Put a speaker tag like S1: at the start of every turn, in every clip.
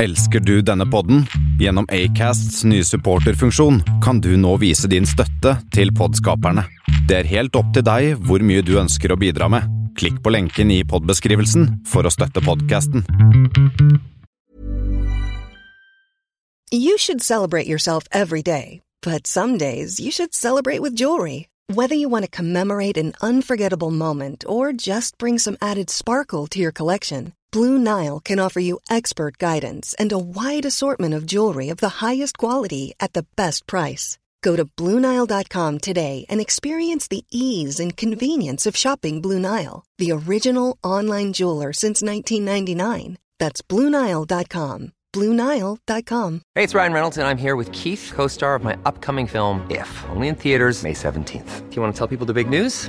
S1: Elsker du denne podden? Gjennom Acasts nye supporterfunksjon kan du nå vise din støtte til podskaperne. Det er helt opp til deg hvor mye du ønsker å bidra med. Klikk på lenken i podbeskrivelsen for å støtte podkasten.
S2: You should celebrate yourself every day, but some days you should celebrate with jewelry. Whether you want to commemorate an unforgettable moment or just bring some added sparkle to your collection, Blue Nile can offer you expert guidance and a wide assortment of jewelry of the highest quality at the best price. Go to BlueNile.com today and experience the ease and convenience of shopping Blue Nile, the original online jeweler since 1999. That's BlueNile.com. BlueNile.com.
S3: Hey, it's Ryan Reynolds, and I'm here with Keith, co star of my upcoming film, If, only in theaters, May 17th. Do you want to tell people the big news?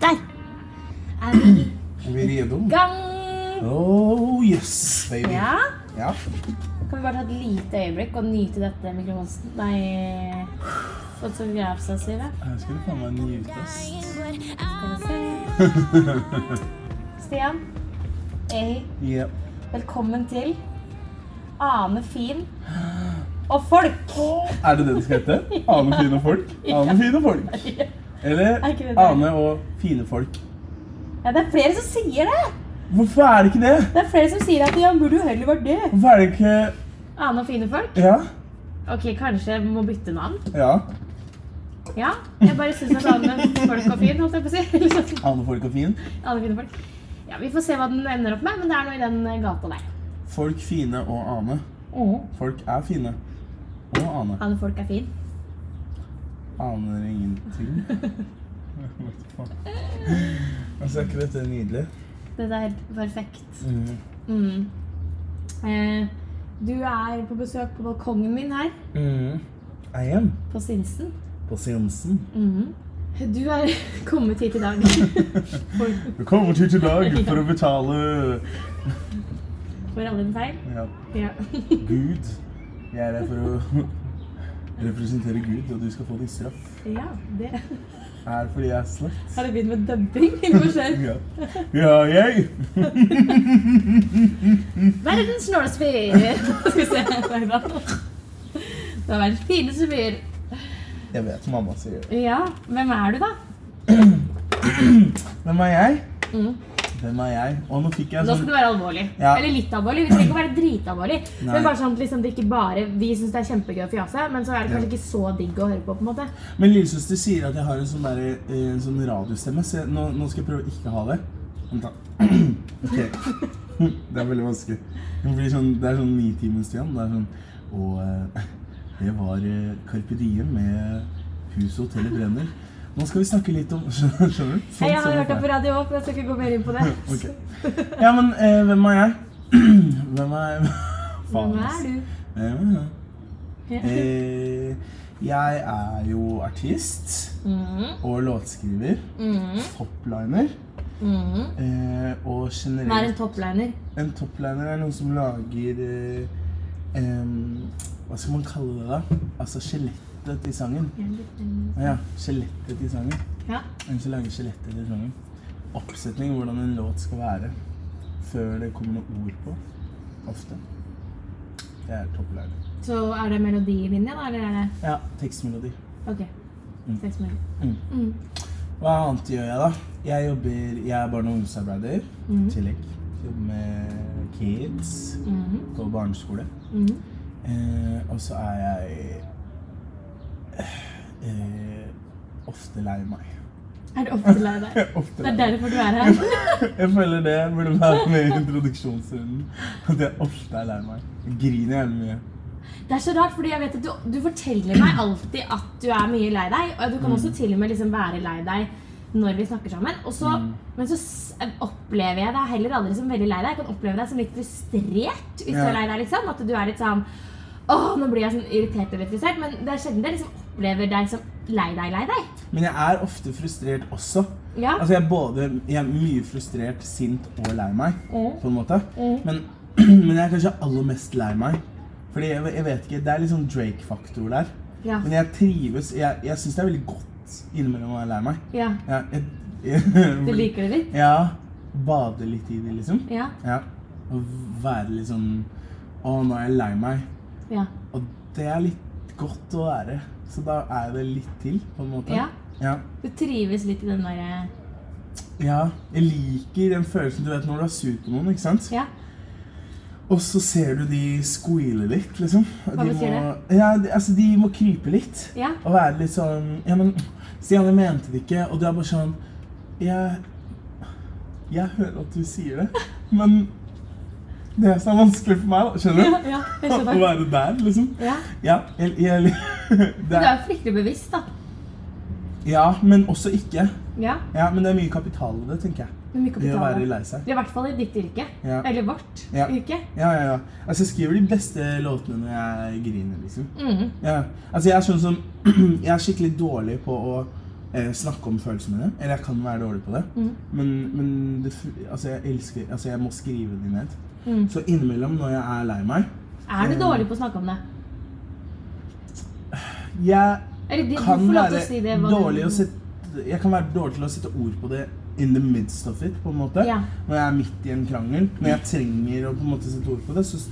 S4: Der! Er vi
S5: Er vi
S4: i
S5: redo?
S4: gang?
S5: Oh yes, baby.
S4: Ja?
S5: Ja.
S4: Kan vi bare ta et lite øyeblikk og nyte dette mikrofonsen? Nei fotografstativet.
S5: Her skal du faen meg nyte, ass.
S4: Skal vi se. Stian, Ehi,
S5: Ja.
S4: velkommen til Ane Fin og folk.
S5: Er det det det skal hete? Ane fine folk? Ane fine folk. Eller
S4: Er ikke det det?
S5: Ane og fine folk.
S4: Ja, det er flere som sier det!
S5: Hvorfor er det ikke det?
S4: Det er flere som sier at Jan burde jo heller vært det.
S5: Hvorfor er det ikke
S4: Ane og fine folk?
S5: Ja.
S4: Ok, kanskje jeg må bytte navn?
S5: ja.
S4: Ja. Jeg bare syns at Ane folk og fin, holdt jeg på å si. Eller sånn.
S5: Ane folk og fin.
S4: Alle fine folk. Ja, Vi får se hva den ender opp med, men det er noe i den eh, gata der.
S5: Folk fine og Ane. Folk er fine. Og Ane.
S4: Alle folk er fin.
S5: Aner ingenting. Hva faen? Altså, er ikke dette nydelig?
S4: Dette er helt perfekt.
S5: Mm.
S4: Mm. Eh, du er på besøk på balkongen min her,
S5: Mm. I am
S4: på Sinsen.
S5: på seansen.
S4: Du er kommet hit i dag. for,
S5: Du kommer hit i dag for å betale
S4: for alle dine feil.
S5: ja,
S4: Ja.
S5: Gud. Jeg er her for å representere Gud, og du skal få din straff.
S4: ja, det
S5: Er fordi jeg er slakt.
S4: Har du begynt med dubbing? eller hva skjer?
S5: Ja. ja, jeg!
S4: Verdens snåleste fyr! Skal vi se. Nei da. Du er verdens fineste fyr.
S5: Jeg vet mamma sier det.
S4: Ja, hvem er du, da?
S5: Hvem er jeg? Hvem er jeg? Og nå fikk jeg
S4: Nå skal
S5: sånn
S4: du være alvorlig.
S5: Ja.
S4: Eller litt alvorlig. Vi trenger ikke å være dritalvorlig.
S5: Nei.
S4: Men bare sånn, at liksom, det ikke bare Vi syns det er kjempegøy å fjase, men så er det kanskje ikke så digg å høre på. på en måte
S5: Men lillesøster sier at jeg har en sånn, der, eh, en sånn radiostemme, så jeg, nå, nå skal jeg prøve å ikke ha det. Vent, da. Ok. Det er veldig vanskelig. Det, blir sånn, det er sånn ni timers igjen. Det er sånn Og eh, det var eh, Carpe Diem med Hus og hotellet brenner. Nå skal vi snakke litt om Skjønner du? Sånn,
S4: Hei, Jeg har
S5: sånn
S4: hørt det
S5: er.
S4: på radio òg, men jeg skal ikke gå mer inn på det.
S5: Ok. Ja, men eh, hvem er jeg? Hvem er
S4: Hvem
S5: ass.
S4: er du?
S5: Hvem er jeg? Eh, jeg er jo artist
S4: Mhm.
S5: og låtskriver. Topliner. Eh, og
S4: Hun Mhm. er en
S5: generelt
S4: topliner.
S5: En topliner er noen som lager eh, em, Hva skal man kalle det, da? Altså skjelettet i sangen. Ja, skjelettet i sangen.
S4: Ja.
S5: En som lager skjelettet i sangen. Oppsetning, hvordan en låt skal være. Før det kommer noen ord på. Ofte. Det er topliner.
S4: Så er det melodilinje, da? Eller er det
S5: Ja, tekstmelodi.
S4: Ok.
S5: Mm.
S4: Seks minutter.
S5: Hva annet gjør jeg, da? Jeg jobber, jeg er barne- og ungdomsarbeider. i tillegg. Jobber med kids på barneskole. Eh, og så er jeg eh, ofte lei meg.
S4: Er det ofte lei deg?
S5: Ofte
S4: Det
S5: lei
S4: er
S5: meg.
S4: derfor du er her.
S5: Jeg føler det burde være med i introduksjonsrunden. At jeg ofte er lei meg. Jeg griner jævlig mye.
S4: Det er så rart, fordi jeg vet at
S5: Mm.
S4: du, du forteller meg alltid at du er mye lei deg. Og du kan også til og med liksom være lei deg når vi snakker sammen. Og så,
S5: Mm.
S4: Men så s- eh, opplever jeg deg heller aldri som veldig lei deg. Jeg kan oppleve deg som litt frustrert hvis du
S5: Ja.
S4: er lei deg. liksom At du er litt sånn Åh, nå blir jeg sånn irritert eller frustrert. Men det er sjelden jeg liksom opplever deg som lei deg, lei deg.
S5: Men jeg er ofte frustrert også.
S4: Ja.
S5: Altså jeg er både jeg er mye frustrert, sint og lei meg,
S4: Mm.
S5: på en måte.
S4: Mm.
S5: Men, men jeg er kanskje aller mest lei meg. Fordi jeg, jeg vet ikke, Det er litt sånn Drake-faktor der.
S4: Ja.
S5: Men jeg trives Jeg, jeg syns det er veldig godt innimellom å være lei meg.
S4: Ja.
S5: Jeg, jeg,
S4: Du liker det litt?
S5: Ja. Bade litt i det, liksom.
S4: Ja.
S5: Ja. Og være litt sånn Å, nå er jeg lei meg.
S4: Ja.
S5: Og det er litt godt å være. Så da er det litt til, på en måte.
S4: Ja.
S5: ja.
S4: Du trives litt i den eh, derre
S5: Ja, jeg liker den følelsen du vet når du er sur på noen, ikke sant?
S4: Ja.
S5: Og så ser du de squeale litt, liksom.
S4: Hva betyr
S5: må, det? Ja, de, altså, de må krype litt.
S4: Ja.
S5: Og være litt sånn Ja, men Stian, jeg mente det ikke. Og du er bare sånn Jeg Jeg hører at du sier det, men det er så vanskelig for meg, da.
S4: Ja,
S5: Skjønner du?
S4: ja, jeg
S5: Å
S4: skjønner.
S5: være der, liksom.
S4: Ja.
S5: Ja, jeg, jeg,
S4: Du
S5: det
S4: er
S5: er,
S4: jo fryktelig bevisst, da.
S5: ja, men også ikke.
S4: Ja.
S5: Ja, Men det er mye kapital i det, tenker jeg.
S4: Men mye
S5: Det å
S4: kapital.
S5: være
S4: da.
S5: lei seg.
S4: I hvert fall i ditt yrke.
S5: Ja.
S4: Eller vårt
S5: Ja.
S4: yrke.
S5: Ja, ja, ja. Altså, jeg skriver de beste låtene når jeg griner, liksom.
S4: Mm.
S5: Ja. Altså, jeg er sånn som Jeg er skikkelig dårlig på å eh, snakke om følelsene mine. Eller jeg kan være dårlig på det.
S4: Mm.
S5: Men, men det, fu- altså, jeg elsker Altså, jeg må skrive de ned.
S4: Mm.
S5: Så innimellom, når jeg er lei meg
S4: Er
S5: Eh,
S4: du dårlig på å snakke om det?
S5: Jeg
S4: Eller du, du
S5: kan
S4: får lov til
S5: være
S4: å si det. hva du-
S5: dårlig å sette Jeg kan være dårlig til å sette ord på det in the midst of it, på en måte.
S4: Ja.
S5: Når jeg er midt i en krangel. Når jeg trenger å på en måte sette ord på det, så s-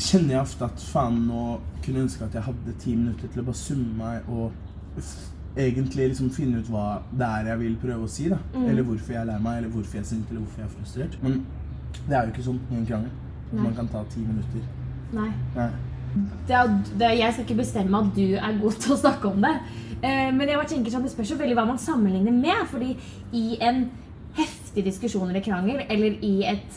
S5: kjenner jeg ofte at faen, nå kunne jeg ønske at jeg hadde ti minutter til å bare summe meg og f- egentlig liksom finne ut hva det er jeg vil prøve å si, da.
S4: Mm.
S5: Eller hvorfor jeg er lei meg, eller hvorfor jeg er sint, eller hvorfor jeg er frustrert. Men det er jo ikke sånn i en krangel.
S4: Nei.
S5: Man kan ta ti minutter.
S4: Nei.
S5: Nei.
S4: Det er, det er, jeg skal ikke bestemme at du er god til å snakke om det. Eh, men jeg bare tenker sånn, det spørs jo veldig hva man sammenligner med. fordi i en heftig diskusjon eller krangel, eller i, et,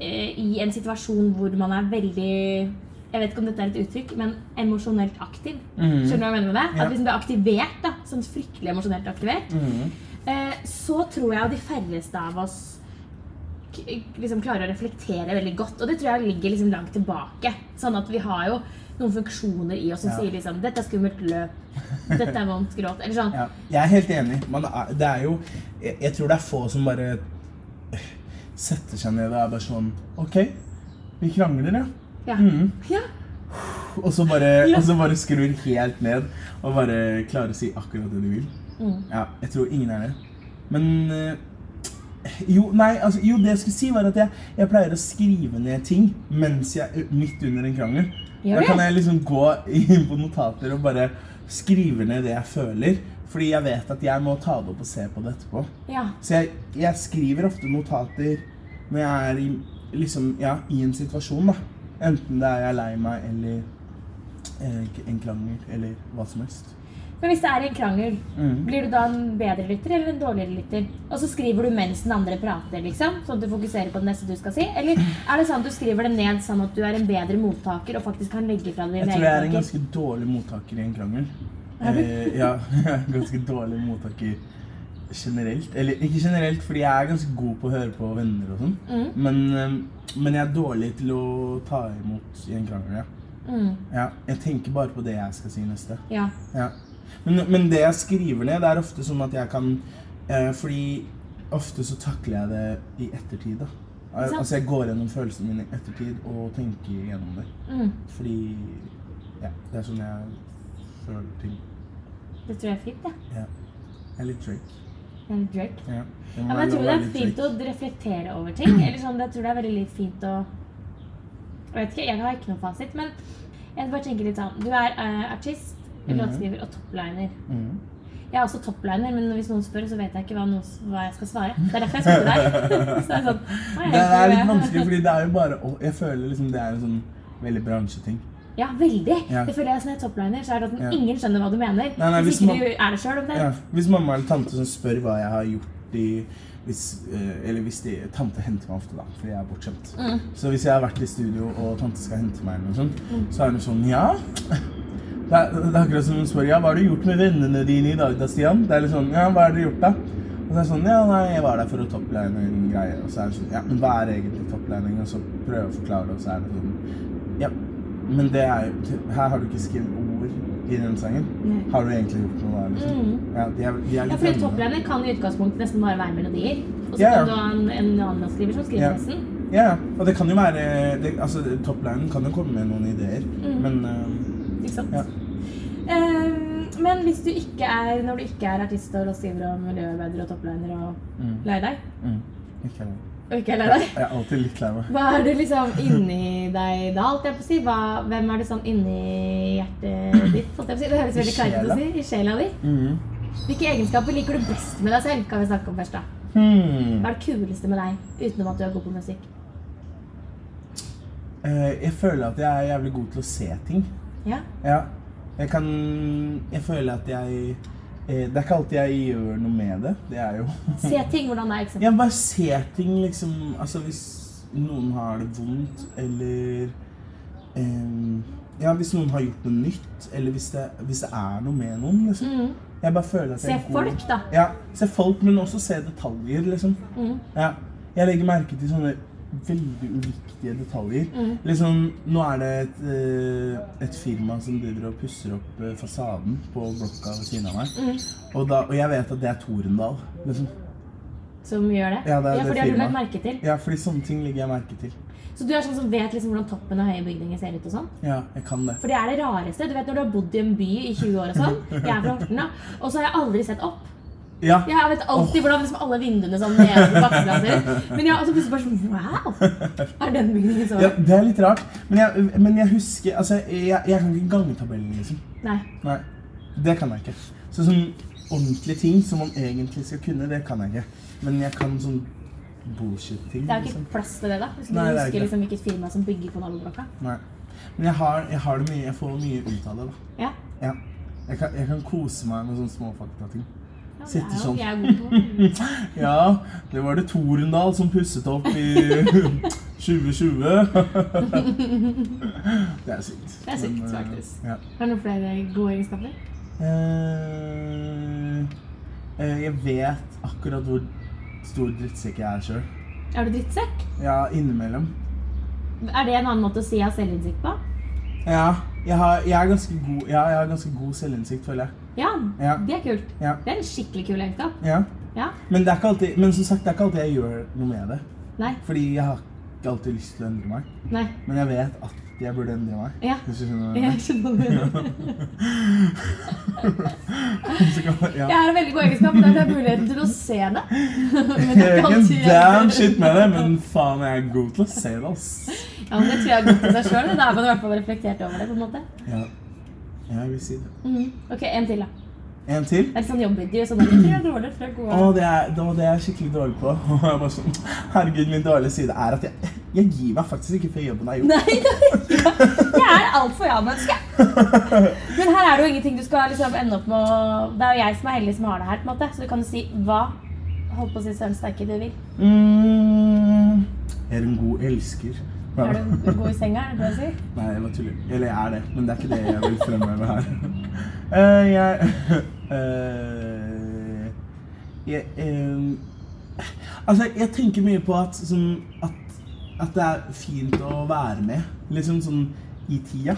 S4: eh, i en situasjon hvor man er veldig Jeg vet ikke om dette er et uttrykk, men emosjonelt aktiv. Skjønner du hva jeg mener med det?
S5: Mhm. Ja.
S4: At liksom du er aktivert. da, sånn Fryktelig emosjonelt aktivert.
S5: Mhm.
S4: Eh, så tror jeg jo de færreste av oss k- liksom klarer å reflektere veldig godt. Og det tror jeg ligger liksom langt tilbake. Sånn at vi har jo noen funksjoner i oss som
S5: Ja.
S4: sier liksom 'Dette er skummelt løp. Dette er vondt gråt.' Eller sånn.
S5: Ja, jeg er helt enig. Man er, det er jo jeg, jeg tror det er få som bare øh, setter seg ned og er bare sånn OK, vi krangler, ja.
S4: Ja.
S5: Mhm.
S4: ja.
S5: Og så bare, og så bare skrur helt ned og bare klarer å si akkurat det de vil. Ja, jeg tror ingen er det. Men eh, jo, nei, altså, jo, det jeg skulle si, var at jeg, jeg pleier å skrive ned ting mens jeg, midt under en krangel.
S4: Gjør
S5: Da
S4: det?
S5: kan jeg liksom gå inn på notater og bare skrive ned det jeg føler. Fordi jeg vet at jeg må ta det opp og se på det etterpå.
S4: ja.
S5: Så jeg, jeg skriver ofte notater når jeg er i, liksom, ja, i en situasjon, da. Enten det er jeg er lei meg, eller eh, en krangel, eller hva som helst.
S4: Men hvis det er en krangel,
S5: Mm.
S4: blir du da en bedre lytter eller en dårligere lytter? Og så skriver du mens den andre prater, liksom? Sånn at du fokuserer på det neste du skal si? Eller er det sånn at du skriver det ned sånn at du er en bedre mottaker og faktisk kan legge fra deg
S5: Jeg
S4: dine
S5: tror jeg er en
S4: tanker?
S5: ganske dårlig mottaker i en krangel.
S4: Er du?
S5: Eh, ja, jeg er en ganske dårlig mottaker generelt. Eller ikke generelt, fordi jeg er ganske god på å høre på venner og sånn.
S4: Mm.
S5: Men, eh, men jeg er dårlig til å ta imot i en krangel, ja.
S4: Mm.
S5: ja. Jeg tenker bare på det jeg skal si neste.
S4: Ja.
S5: Ja. Men, men det jeg skriver ned, det er ofte sånn at jeg kan eh, Fordi ofte så takler jeg det i ettertid, da. Al-
S4: sant?
S5: Altså jeg går gjennom følelsene mine i ettertid og tenker gjennom det.
S4: Mm.
S5: Fordi ja, det er sånn jeg føler ting.
S4: Det tror jeg er fint, jeg.
S5: Ja. Jeg er litt Drake.
S4: Det er litt Drake.
S5: Ja.
S4: Ja, men jeg tror det er fint å reflektere over ting. Eller sånn, jeg tror det er veldig litt fint å Jeg vet ikke, jeg har ikke noen fasit, men jeg bare tenker litt sånn Du er eh, artist, låtskriver og topliner.
S5: Mhm.
S4: Jeg er også topliner, men hvis noen spør, så vet jeg ikke hva, noen, hva jeg skal svare. Det er derfor jeg spurte deg. så det er sånn, «Å, jeg
S5: Det
S4: vet ikke
S5: er litt
S4: hva jeg-»
S5: vanskelig, fordi det er jo bare å Jeg føler liksom det er en sånn veldig bransjeting.
S4: Ja, veldig.
S5: Ja.
S4: Det føler jeg som er topliner, så er det at
S5: Ja.
S4: ingen skjønner hva du mener.
S5: Nei, nei,
S4: hvis
S5: hvis
S4: ikke
S5: man-
S4: du er det sjøl, om det.
S5: Ja. Hvis mamma eller tante som spør hva jeg har gjort i hvis, eh, Eller hvis de, tante henter meg ofte, da, fordi jeg er bortskjemt. Så hvis jeg har vært i studio og tante skal hente meg, eller noe sånt, så er hun sånn Ja, Det er, det er akkurat som hun spør ja, hva har du gjort med vennene dine i dag da, Stian? Det er litt sånn, ja, hva har dere gjort da? Og så er det sånn, ja, nei, jeg var der for å toppline en greie. Og så er det sånn, ja, men hva er egentlig toplining? Og så prøver jeg å forklare det, og så er det sånn, ja, men det er jo, her har du ikke skrevet ord i den sangen.
S4: Nei. Mm.
S5: Har du egentlig gjort noe da, liksom? Ja, de er, de er
S4: Ja,
S5: litt sånn-
S4: for
S5: fremme.
S4: toppliner kan i utgangspunktet nesten bare være melodier. Og så
S5: Ja, ja.
S4: kan du ha en, en annen skriver som skriver
S5: Ja.
S4: resten.
S5: Ja, ja. og det kan jo være, det, altså, toplinen kan jo komme med noen ideer,
S4: Mm.
S5: men... eh,
S4: Ikke sant?
S5: Ja.
S4: Ehm, men hvis du ikke er, når du ikke er artist og låtskriver og miljøarbeider og topliner og lei deg,
S5: mm, ikke heller.
S4: og ikke er lei deg,
S5: Jeg er alltid litt lei meg.
S4: hva er du liksom inni deg da, holdt jeg på å si? Hva, hvem er du sånn inni hjertet ditt, holdt jeg på å si? Det høres veldig
S5: I
S4: kleint ut å si. I sjela di.
S5: Mhm.
S4: Hvilke egenskaper liker du best med deg selv, kan vi snakke om først da.
S5: Hmm.
S4: Hva er det kuleste med deg, utenom at du er god på musikk?
S5: Eh, jeg føler at jeg er jævlig god til å se ting.
S4: Ja?
S5: Ja. Jeg kan Jeg føler at jeg eh, Det er ikke alltid jeg gjør noe med det. Det er jo
S4: Se
S5: Mm.
S4: ting, hvordan det er, ikke sant?
S5: Jeg bare ser ting, liksom Altså, hvis noen har det vondt, eller eh, Ja, hvis noen har gjort noe nytt, eller hvis det, hvis det er noe med noen, liksom. Jeg bare føler at jeg
S4: Mm. Se
S5: er god-
S4: folk da. Mm.
S5: Ja, se folk, men også se detaljer, liksom. Ja. Jeg legger merke til sånne veldig uviktige detaljer.
S4: Mm.
S5: Liksom, nå er det et, eh, et firma som driver og pusser opp eh, fasaden på blokka ved siden av meg.
S4: Mm.
S5: Og, da, og jeg vet at det er Torendal, liksom.
S4: Som gjør det?
S5: Ja, det er det
S4: for det har du
S5: firmaet.
S4: lagt merke til.
S5: Ja, fordi sånne ting legger jeg merke til.
S4: Så du er sånn som vet liksom hvordan toppen av høye bygninger ser ut og sånn?
S5: Ja, jeg kan det.
S4: For det er det rareste. Du vet når du har bodd i en by i 20 år og sånn. Jeg er fra Horten, da. Og så har jeg aldri sett opp.
S5: Ja,
S4: Jeg vet alltid hvordan liksom alle vinduene sånn nede på bakkeplan ser ut. Men jeg har også plutselig bare sånn Wow! Er den bygningen så
S5: ja det er litt rart. Men jeg, men jeg husker Altså, jeg, jeg kan ikke gangetabellen, liksom.
S4: Nei.
S5: Nei, det kan jeg ikke. Så sånn ordentlige ting som man egentlig skal kunne, det kan jeg ikke. Men jeg kan sånn bullshit-ting.
S4: Det er jo
S5: liksom.
S4: ikke plass til det, da. Hvis du
S5: Nei, det er ikke
S4: husker
S5: det.
S4: liksom hvilket firma som bygger på naboblokka.
S5: Nei. Men jeg har, jeg har det mye, jeg får mye ut av det, da.
S4: Ja.
S5: Ja. Jeg kan, jeg kan kose meg med sånne småfaktating.
S4: Ja, det
S5: Sitte
S4: er jo
S5: sånn.
S4: jeg er god på.
S5: Ja, det var det Torendal som pusset opp i 2020. det er sykt.
S4: Det er sykt,
S5: Men, eh,
S4: faktisk.
S5: Ja.
S4: Har du noen flere gode egenskaper?
S5: Eh, eh, jeg vet akkurat hvor stor drittsekk jeg er sjøl.
S4: Er du drittsekk?
S5: Ja, innimellom.
S4: Er det en annen måte å si jeg har selvinnsikt på?
S5: Ja, jeg, har, jeg, er ganske god, ja, jeg har ganske god selvinnsikt, føler jeg.
S4: Ja,
S5: Ja.
S4: det er kult.
S5: Ja.
S4: Det er en skikkelig kul egenskap.
S5: Ja.
S4: Ja.
S5: Men, det er ikke alltid, men som sagt, det er ikke alltid jeg gjør noe med det.
S4: Nei.
S5: Fordi jeg har ikke alltid lyst til å endre meg.
S4: Nei.
S5: Men jeg vet at jeg burde endre meg.
S4: Ja.
S5: Hvis du skjønner hva jeg
S4: Jeg skjønner hva du mener.
S5: mener. Ja.
S4: Jeg har en veldig god egenskap, der det er muligheten til å se det. Men det er
S5: Jeg er
S4: ikke
S5: ikke en
S4: alltid-
S5: damn shit med det, men faen, jeg er god til å se det, ass.
S4: Ja, men Det tror jeg er godt i seg sjøl. Da er man i hvert fall reflektert over det. på en måte.
S5: Ja, jeg vil si det.
S4: Mhm. Ok, En til, da.
S5: En til.
S4: Det er litt sånn jobbintervju. Sånn, jeg tror jeg er dårlig, jeg tror jeg er
S5: Å,
S4: god.
S5: det er, det, var det jeg er skikkelig dårlig på. Og jeg bare sånn, Herregud, min dårlige side er at jeg, jeg gir meg faktisk ikke før jobben er gjort.
S4: Nei, det er ikke- jeg er altfor ja-menneske. Men her er det jo ingenting du skal liksom ende opp med å Det er jo jeg som er heldig som har det her. på en måte. Så du kan jo si hva Hold på å si søren steike du vil.
S5: Mm, jeg er en god elsker. Ja.
S4: Er du god i senga? Er det det du sier?
S5: Nei, jeg bare tuller. Eller jeg er det, men det er ikke det jeg vil fremheve her. Eh, jeg eh, jeg em, Altså, jeg tenker mye på at, sånn, at, at det er fint å være med, liksom sånn i tida.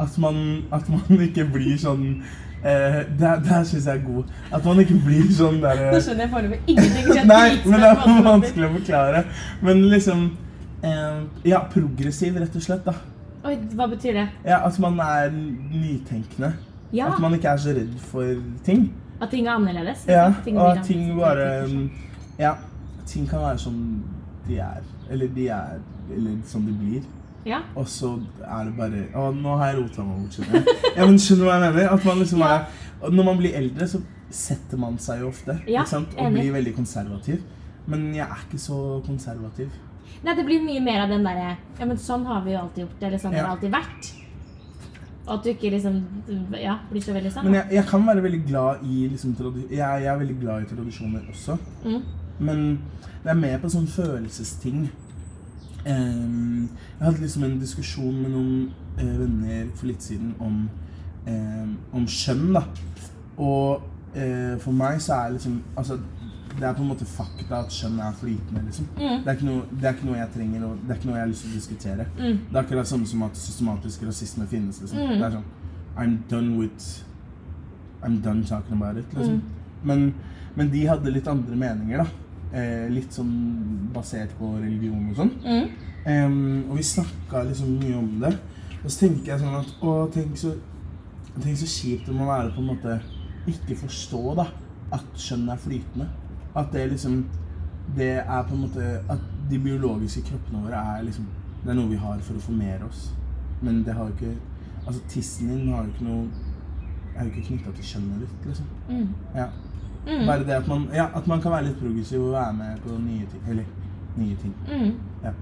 S5: At man, at man ikke blir sånn eh, Der, der syns jeg er god. At man ikke blir sånn derre
S4: Nå skjønner jeg foreløpig ingenting. så jeg er
S5: Nei, men det er
S4: dritspent på hva som
S5: vanskelig å forklare. Men liksom eh, Ja, progressiv, rett og slett. da.
S4: kommer. Oi, Hva betyr det?
S5: Ja, At man er nytenkende.
S4: Ja,
S5: At man ikke er så redd for ting.
S4: At ting er annerledes.
S5: Ja,
S4: Ting
S5: Og
S4: blir
S5: at ting
S4: annerledes.
S5: bare um, Ja, ting kan være som de er. Eller de er Eller som de blir.
S4: Ja.
S5: Og så er det bare Å, nå har jeg rota meg bort, skjønner jeg. Ja, men skjønner du hva jeg mener? At man liksom er og Når man blir eldre, så setter man seg jo ofte.
S4: Ja,
S5: ikke sant? Og
S4: enig.
S5: blir veldig konservativ. Men jeg er ikke så konservativ.
S4: Nei, det blir mye mer av den derre Ja, men sånn har vi jo alltid gjort det, eller sånn har
S5: Ja.
S4: det alltid vært. Og at du ikke liksom Ja, blir så veldig sånn.
S5: Men jeg, jeg kan være veldig glad i liksom, tradi- jeg, jeg er veldig glad i tradisjoner også. Men det er mer på sånne følelsesting. Ehm, jeg hadde liksom en diskusjon med noen eh, venner for litt siden om eh, om skjønn, da. Og eh, for meg så er liksom Altså, det er på en måte fakta at skjønn er flytende, liksom. Det, er ikke noe, det er ikke noe jeg trenger, og det er ikke noe jeg har lyst til å diskutere. Det er akkurat samme som at systematisk rasisme finnes, liksom. Det er sånn I'm done with I'm done talking about it, liksom. Men, men de hadde litt andre meninger, da. Eh, litt sånn basert på religion og sånn. Em, og vi snakka liksom mye om det. Og så tenker jeg sånn at Å, tenk så, tenk så kjipt det må være på en måte ikke forstå da, at skjønn er flytende. At det liksom Det er på en måte At de biologiske kroppene våre er liksom Det er noe vi har for å formere oss. Men det har jo ikke Altså, tissen din har jo ikke noe er jo ikke knytta til kjønnet ditt, liksom.
S4: Mm.
S5: Ja. Bare det at man, ja, at man kan være litt progressiv og være med på nye ting. Eller nye ting.
S4: Mm.
S5: Ja.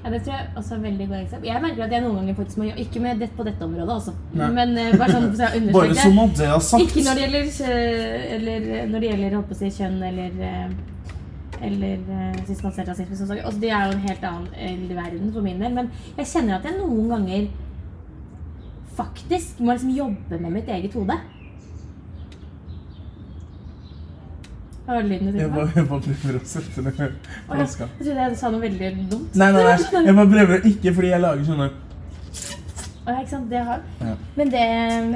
S4: Ja, det tror jeg også er veldig godt eksempel. Jeg merker at jeg noen ganger faktisk må gjøre Ikke med det, på dette området, altså.
S5: Nei.
S4: Men eh, bare sånn for å understreke
S5: Bare som at det er sagt.
S4: Ikke når det gjelder, kjø- eller, eh, når det gjelder holdt på å si, kjønn eller eh, eller eh, systematisert rasisme. Som sagt. Altså, det er jo en helt annen eh, verden for min del. Men jeg kjenner at jeg noen ganger faktisk må liksom jobbe med mitt eget hode. Hva var det lyden du
S5: Jeg
S4: trodde?
S5: bare, jeg bare prøver å sette ned
S4: Å, Jeg jeg
S5: flaska.
S4: trodde jeg sa noe veldig dumt.
S5: Nei, nei, nei. Jeg bare prøver å ikke fordi jeg lager sånne
S4: Å, ja, ikke sant? Det har.
S5: Ja.
S4: Men det,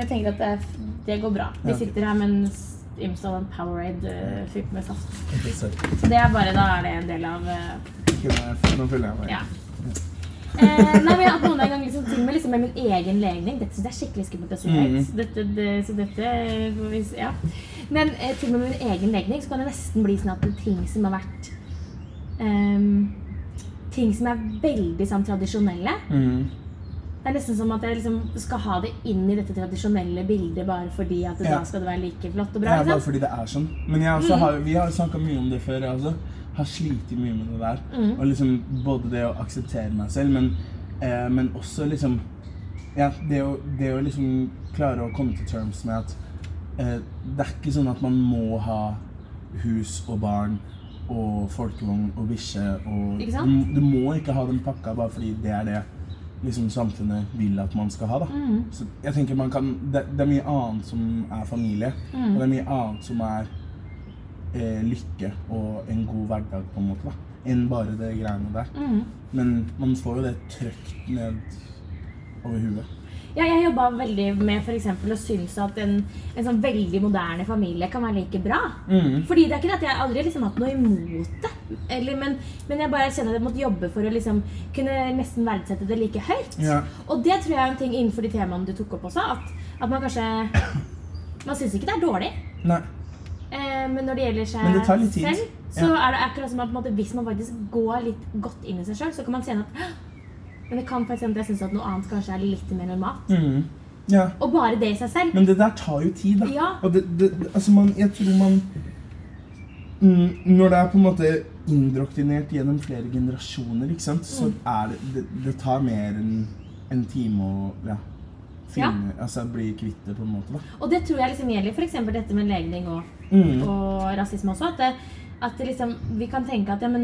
S4: jeg tenker at det, er f- det går bra.
S5: Ja,
S4: Vi
S5: ok.
S4: sitter her med en s- ymse av en Powerade eh, fylt med saft.
S5: Ikke sant.
S4: Så det er bare, da er det en del av eh,
S5: Ikke noe- Nå føler jeg meg
S4: Ja. Eh, nei, men jeg har hatt noen ganger liksom, ting med, liksom, med min egen legning. Dette synes jeg er skikkelig skummelt å si
S5: Mhm.
S4: høyt. Dette, det, så dette får vi se, ja. Men eh, til og med min egen legning så kan det nesten bli sånn at det er ting som har vært ehm, Ting som er veldig sånn tradisjonelle.
S5: Mhm.
S4: Det er nesten som at jeg liksom skal ha det inn i dette tradisjonelle bildet bare fordi at
S5: Ja.
S4: da skal det være like flott og
S5: Det
S4: bra.
S5: er bare
S4: Ikke sant? Mm.
S5: fordi det er sånn. Men jeg også har, vi har snakka mye om det før. Jeg også har slitt mye med det der.
S4: Mm.
S5: Og liksom Både det å akseptere meg selv, men, eh, men også liksom Ja, det å, det å liksom klare å komme til terms med at eh, det er ikke sånn at man må ha hus og barn og folkevogn og bikkje og
S4: Ikke sant?
S5: Du, du må ikke ha den pakka bare fordi det er det liksom, samfunnet vil at man skal ha. Da.
S4: Mm.
S5: Så jeg tenker man kan, det, det er mye annet som er familie,
S4: Mm.
S5: og det er mye annet som er eh, lykke og en god hverdag, på en måte, da, enn bare det greiene der.
S4: Mm.
S5: Men man får jo det trøkt ned over huet.
S4: Ja, jeg jobba veldig med for eksempel å synes at en, en sånn veldig moderne familie kan være like bra.
S5: Mm.
S4: Fordi det er ikke det at jeg aldri liksom hatt noe imot det. Eller, men, men jeg bare kjenner at jeg måtte jobbe for å liksom kunne nesten verdsette det like høyt.
S5: Ja.
S4: Og det tror jeg er en ting innenfor de temaene du tok opp også, at, at man kanskje Man syns ikke det er dårlig.
S5: Nei.
S4: Eh, men når det gjelder seg
S5: Men det tar litt tid.
S4: selv, så
S5: Ja.
S4: er det akkurat som at på en måte, hvis man faktisk går litt godt inn i seg sjøl, så kan man kjenne at «Hå!» Men det kan faktisk hende at jeg syns at noe annet kanskje er litt mer normalt.
S5: mm, Ja.
S4: Og bare det i seg selv.
S5: Men det der tar jo tid, da.
S4: Ja.
S5: Og det, det, det- altså man, jeg tror man mm, Når det er på en måte indoktrinert gjennom flere generasjoner, ikke sant, så er det Det, det tar mer enn en time å ja, finne Altså bli kvitt det, på en måte. da.
S4: Og det tror jeg liksom gjelder f.eks. dette med legning og,
S5: Mm.
S4: og rasisme også. At, det, at det liksom, vi kan tenke at ja, men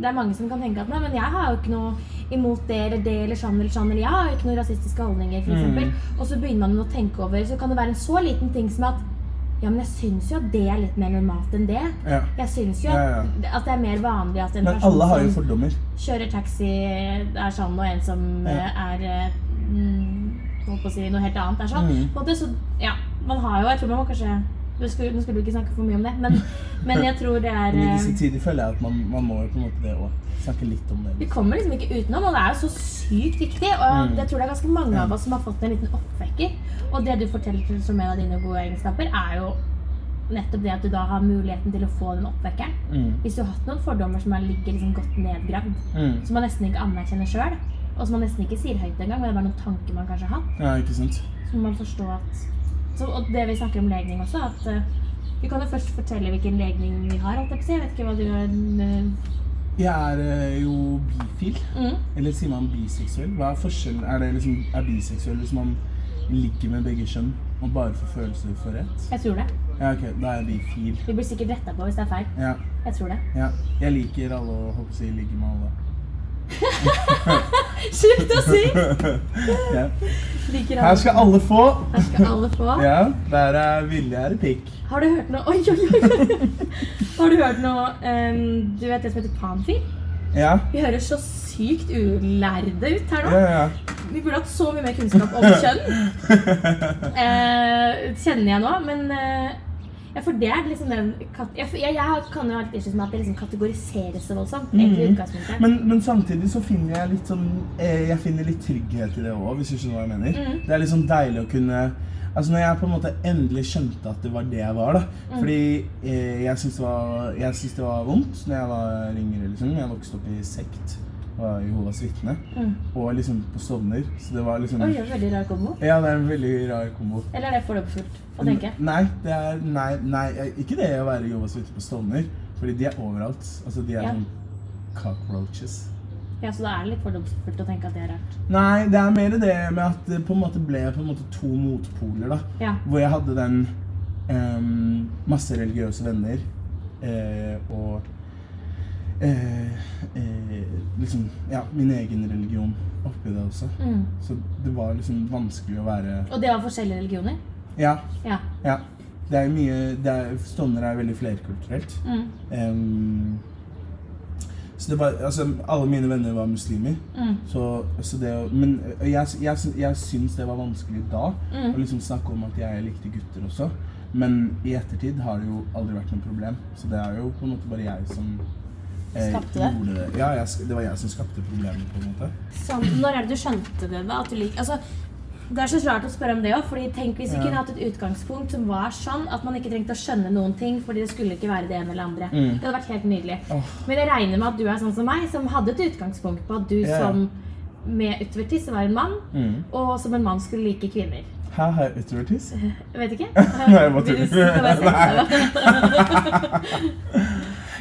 S4: Det er mange som kan tenke at nei, men jeg har jo ikke noe imot det eller det eller sånn eller sånn. Eller jeg har jo ikke noen rasistiske holdninger,
S5: Mm.
S4: f.eks. eksempel. Og så begynner man å tenke over Så kan det være en så liten ting som at ja, men jeg syns jo at det er litt mer normalt enn det.
S5: Ja.
S4: Jeg syns jo
S5: Ja,
S4: at, at det er mer vanlig at en
S5: Men
S4: person
S5: alle har jo
S4: som-
S5: fordommer.
S4: kjører taxi er sånn, og en som
S5: Ja.
S4: eh, er eh, mm, holdt på å si noe helt annet er sånn. På en måte, så, ja, man har jo, jeg tror man må kanskje du skulle, Nå skulle du ikke snakke for mye om det, men, men jeg tror det er
S5: Men i
S4: eh,
S5: disse tider føler jeg at man, man må jo på en måte det òg. Snakke litt om det.
S4: Vi kommer liksom ikke utenom, og det er jo så sykt viktig. Og
S5: Mm.
S4: jeg tror det er ganske mange av oss som har fått en liten oppvekker. Og det du forteller som en av dine gode egenskaper, er jo nettopp det at du da har muligheten til å få den oppvekkeren.
S5: Mm.
S4: Hvis du har hatt noen fordommer som er- ligger liksom godt nedgravd,
S5: Mm.
S4: som man nesten ikke anerkjenner sjøl, og som man nesten ikke sier høyt engang, men det er bare noen tanker man kanskje har hatt,
S5: Ja, ikke sant?
S4: så må man forstå at så, Og det vi snakker om legning også, at eh, vi kan jo først fortelle hvilken legning vi har. holdt Jeg på å si. Jeg vet ikke hva du uh,
S5: Jeg er eh, jo bifil.
S4: mm.
S5: Eller sier man biseksuell? Hva er forskjellen? Er det liksom, er biseksuell hvis man ligger med begge kjønn og bare får følelser for ett?
S4: Jeg tror det.
S5: Ja, ok, da er jeg bifil.
S4: Vi blir sikkert retta på hvis det er feil.
S5: Ja,
S4: Jeg tror det.
S5: ja. Jeg liker alle og håper å si ligger med alle.
S4: Sjukt å si!
S5: Ja.
S4: Liker
S5: Her
S4: alle.
S5: skal alle få.
S4: Her skal alle få.
S5: Ja, der er Vilje er i pikk.
S4: Har du hørt noe Oi, oi, oi! Har du hørt noe ehm, Du vet det som heter panfil?
S5: Ja,
S4: Vi høres så sykt ulærde ut her nå.
S5: ja, ja.
S4: Vi burde hatt så mye mer kunnskap om kjønn. Eh, kjenner jeg nå, men eh, ja, for det er liksom den kat jeg, jeg, jeg har- kan jo ha litt issues med at det liksom kategoriseres så voldsomt. egentlig i utgangspunktet.
S5: Mhm. Men, men samtidig så finner jeg litt sånn eh, Jeg finner litt trygghet i det òg, hvis du skjønner hva jeg mener.
S4: Mm.
S5: Det er litt sånn deilig å kunne Altså når jeg på en måte endelig skjønte at det var det jeg var, da.
S4: Mm.
S5: Fordi eh, jeg syntes det, var- jeg syntes det var vondt når jeg var yngre. liksom. Jeg vokste opp i sekt. Var Jehovas vitne. Og liksom på Stovner. Så det var liksom
S4: Mm. Oi, det er en veldig rar kombo.
S5: Ja, det er en veldig rar kombo.
S4: Eller er det fordomsfullt å tenke?
S5: Nei, det er Nei, nei eh, ikke det å være Jehovas vitne på Stovner. Fordi de er overalt. Altså de er
S4: Ja.
S5: sånn cockroaches.
S4: Ja, Så da er det litt fordomsfullt å tenke at det er rart.
S5: Nei, det er mer det med at det på en måte ble på en måte to motpoler. da.
S4: Ja.
S5: Hvor jeg hadde den em, masse religiøse venner eh, og eh, eh, liksom ja, min egen religion oppi det også. Så det var liksom vanskelig å være
S4: Og det var forskjellige religioner?
S5: Ja.
S4: Ja.
S5: ja. Det er mye det er, Stovner er veldig flerkulturelt.
S6: Mm.
S5: Em, så det var, altså, alle mine venner var muslimer.
S6: Mm.
S5: Så, så det, å- men ø, jeg, sy- jeg, sy- jeg syns det var vanskelig da
S6: Mm.
S5: å liksom snakke om at jeg likte gutter også. Men i ettertid har det jo aldri vært noe problem. Så det er jo på en måte bare jeg som eh,
S6: Skapte det?
S5: gjorde det. Ja, jeg, sk- det var jeg som skapte problemet, på en måte.
S6: Sånn, når er det du skjønte det, da? At du lik, altså,
S4: Det er så rart å spørre om det òg. Tenk hvis vi kunne hatt et utgangspunkt som var sånn at man ikke trengte å skjønne noen ting fordi det skulle ikke være det ene eller andre.
S5: Mm.
S4: Det hadde vært helt nydelig. Men jeg regner med at du er sånn som meg, som hadde et utgangspunkt på at du
S5: ja. Mm.
S4: som med utvertiss var en mann, og som en mann skulle like kvinner.
S5: Her har jeg utrovertis.
S4: Jeg vet ikke.
S5: Nei, jeg bare
S4: Vil du
S5: tuller.
S4: si det var
S5: Nei.
S4: sett?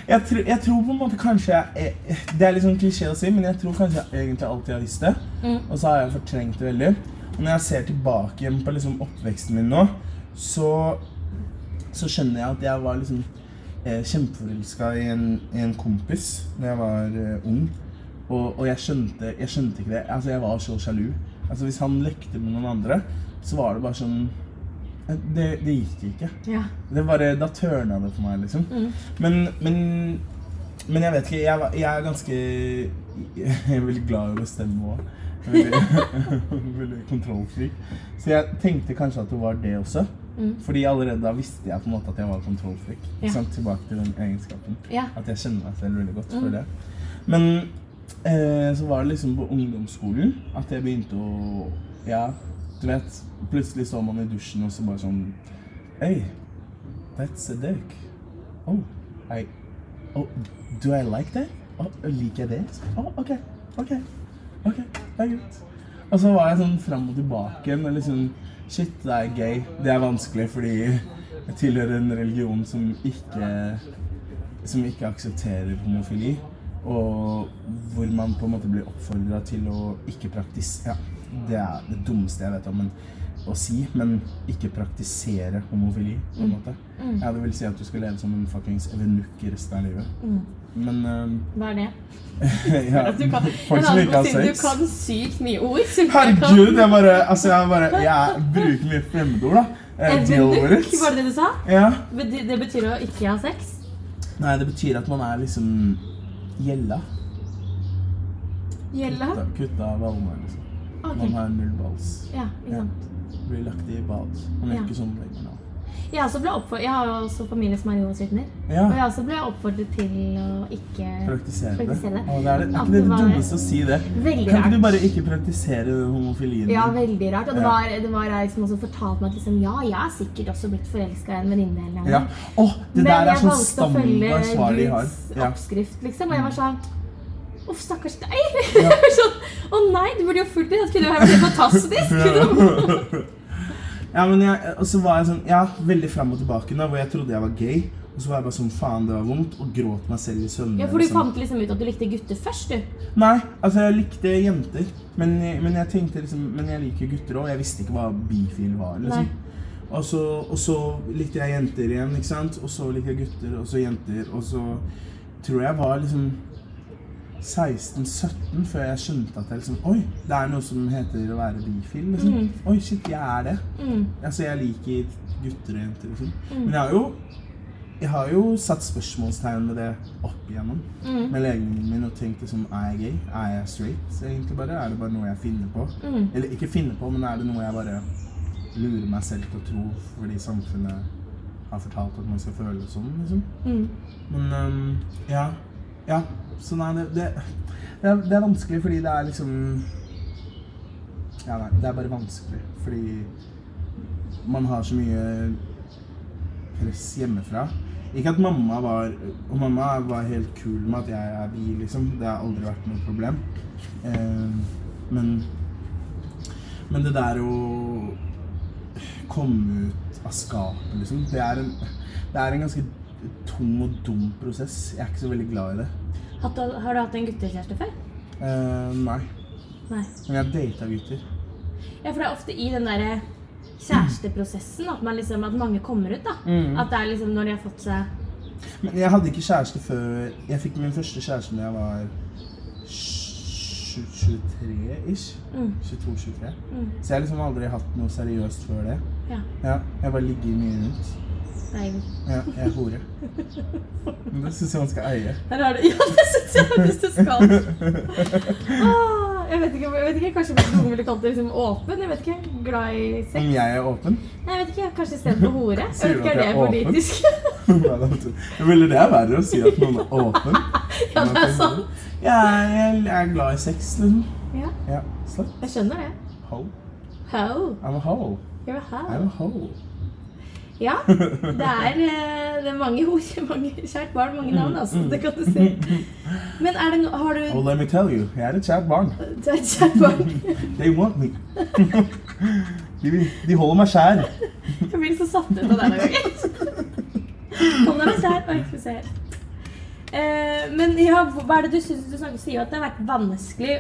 S5: Jeg, tror- jeg tror på en måte kanskje jeg, jeg- Det er litt sånn klisjé å si, men jeg tror kanskje jeg egentlig alltid har visst det. Og så har jeg fortrengt det veldig. Og når jeg ser tilbake igjen på liksom oppveksten min nå, så, så skjønner jeg at jeg var liksom eh, kjempeforelska i, en- i en kompis da jeg var eh, ung. Og, og jeg, skjønte, jeg skjønte ikke det. Altså, jeg var så sjalu. Altså, hvis han lekte med noen andre, så var det bare sånn Det, det gikk ikke.
S4: Ja.
S5: Det bare, da tørna det for meg, liksom.
S4: Mm.
S5: Men, men, men jeg vet ikke. Jeg, var- jeg er ganske Jeg er veldig glad i å bestemme òg. Veldig, veldig kontrollfrik. Så jeg tenkte kanskje at det var det også. Fordi allerede da visste jeg på en måte at jeg var kontrollfrik.
S4: Mm. Ja.
S5: Sånn, tilbake til den egenskapen.
S4: Ja. Mm.
S5: At jeg kjenner meg selv veldig godt for det. Men eh, så var det liksom på ungdomsskolen at jeg begynte å Ja, du vet. Plutselig så man i dusjen, og så bare sånn Hey, that's a dick. Oh, I. Oh, do I like that? Oh, liker jeg det? Oh, ok, ok, ok, det er greit. Og så var jeg sånn fram og tilbake med liksom Shit, det er gay. Det er vanskelig fordi jeg tilhører en religion som ikke Som ikke aksepterer homofili. Og hvor man på en måte blir oppfordra til å ikke praktisere ja, Det er det dummeste jeg vet om men, å si, men ikke praktisere homofili,
S4: Mm.
S5: på en måte. Ja, det vil si at du skal leve som en fuckings evenukk i resten av livet. Men eh,
S4: Hva er det?
S5: ja,
S4: Mm. altså, Du kan,
S5: folk som ikke har
S4: Siden du
S5: sex.
S4: kan sykt mye ord. så du kan-
S5: Herregud, jeg bare, altså jeg bare Jeg bruker mye fremmedord, da. Eh, Deal with
S4: Evenukk, var det
S5: it.
S4: det du sa?
S5: Ja.
S4: Men Det det betyr å ikke ha sex?
S5: Nei, det betyr at man er liksom gjella.
S4: Gjelder
S5: Da, Kutta av ballene, liksom. Man har null balls.
S4: Ja, ikke sant.
S5: Blir lagt i bad. Man er
S4: Ja.
S5: ikke sånn lenger nå.
S4: Jeg, også ble oppfor- jeg har jo også familie som er Jehovas vitner.
S5: Ja.
S4: Og jeg også ble oppfordret til å ikke
S5: Praktisere det.
S4: praktisere det.
S5: Å, det er
S4: At
S5: det, er ikke det
S4: det
S5: det
S4: var-
S5: dummeste å si det.
S4: Veldig
S5: Kan ikke
S4: rart.
S5: du bare ikke praktisere den homofilien?
S4: Ja,
S5: din?
S4: veldig rart. Og det
S5: Ja.
S4: var, det var ei som også fortalte meg at liksom, ja, jeg har sikkert også blitt forelska i en venninne. eller noe.
S5: Ja. Åh, det
S4: Men
S5: der er
S4: jeg
S5: sånn
S4: valgte å følge
S5: standard svar de har.
S4: Guds
S5: Ja.
S4: oppskrift, liksom. Og jeg var sånn Uff, stakkars deg! Jeg var sånn, Å nei, du burde jo fulgt det! Det kunne jo vært helt fantastisk!
S5: ja, men jeg, og så var jeg sånn, ja, veldig frem og tilbake nå, hvor jeg trodde jeg var gay. Og så var jeg bare sånn, faen, det var vondt, og gråt meg selv i søvne.
S4: Ja, For du
S5: liksom.
S4: fant liksom ut at du likte gutter først, du.
S5: Nei, altså jeg likte jenter, men, men jeg tenkte liksom, men jeg liker gutter også, jeg visste ikke hva bifil var,
S4: Nei.
S5: liksom. Og så, og så likte jeg jenter igjen, ikke sant? Og så likte jeg gutter, og så jenter, og så tror jeg var liksom... 16-17 før jeg skjønte at jeg liksom Oi, det er noe som heter å være bifil, liksom. Oi, shit, jeg er det. Altså, jeg liker gutter og jenter, liksom. Men jeg har jo jeg har jo satt spørsmålstegn ved det opp igjennom med legningen min og tenkt liksom Er jeg gay? Er jeg straight? egentlig bare? Er det bare noe jeg finner på? Eller ikke finner på, men er det noe jeg bare lurer meg selv til å tro fordi samfunnet har fortalt at man skal føle sånn, liksom? Men øhm, ja. Ja. Så nei, det, det, det, er, det er vanskelig fordi det er liksom Ja, nei. Det er bare vanskelig fordi man har så mye press hjemmefra. Ikke at mamma var Og mamma var helt kul med at jeg er bi, liksom. Det har aldri vært noe problem. Eh, men Men det der å komme ut av skapet, liksom, det er en, det er en ganske tung og dum prosess. Jeg er ikke så veldig glad i det.
S6: Hatt, har du hatt en guttekjæreste før?
S5: Eh, nei.
S6: Nei.
S5: Men jeg data gutter.
S4: Ja, for det er ofte i den derre kjæresteprosessen at, man liksom, at mange kommer ut. da. At det er liksom når de har fått seg
S5: Men jeg hadde ikke kjæreste før Jeg fikk min første kjæreste da jeg var 23-ish.
S4: Mm.
S5: 22-23. Så jeg har liksom aldri hatt noe seriøst før det.
S4: Ja,
S5: Ja, jeg bare ligger mye rundt.
S4: deilig.
S5: Ja, jeg er hore. Men det syns jeg man skal eie.
S4: Der har du Ja, det syns jeg faktisk du skal. Ah, jeg, vet ikke, jeg vet ikke, Kanskje noen ville kalt det liksom åpen? Jeg vet ikke. Glad i sex?
S5: Om jeg er åpen?
S4: Nei, jeg vet ikke, Kanskje istedenfor hore? Jeg
S5: Sier
S4: vet
S5: du
S4: ikke,
S5: at
S4: Er det
S5: jeg er åpen?
S4: politisk?
S5: Nei, det betyr- Jeg ville det er verre å si at noen er åpen.
S4: ja, det er sant.
S5: Ja, jeg er glad i sex, liksom.
S4: Ja,
S5: Ja, slapp.
S4: jeg skjønner det.
S5: Ho.
S4: How?
S5: I'm a ho.
S4: You're a how.
S5: I'm a ho.
S4: Ja, det er, eh, det er mange ord, mange kjært barn, mange navn, altså.
S5: Mm.
S4: Det kan du si. Men er det no, har du
S5: Oh, let me tell you, jeg er et kjært barn.
S4: Du er et kjært barn.
S5: They want me. De, de holder meg skjær.
S4: Jeg blir så satt ut av deg noen ganger. Kom deg mens jeg er Oi, skal vi se her. Eh, men ja, hva er det du syns du snakker, sier jo at det har vært vanskelig?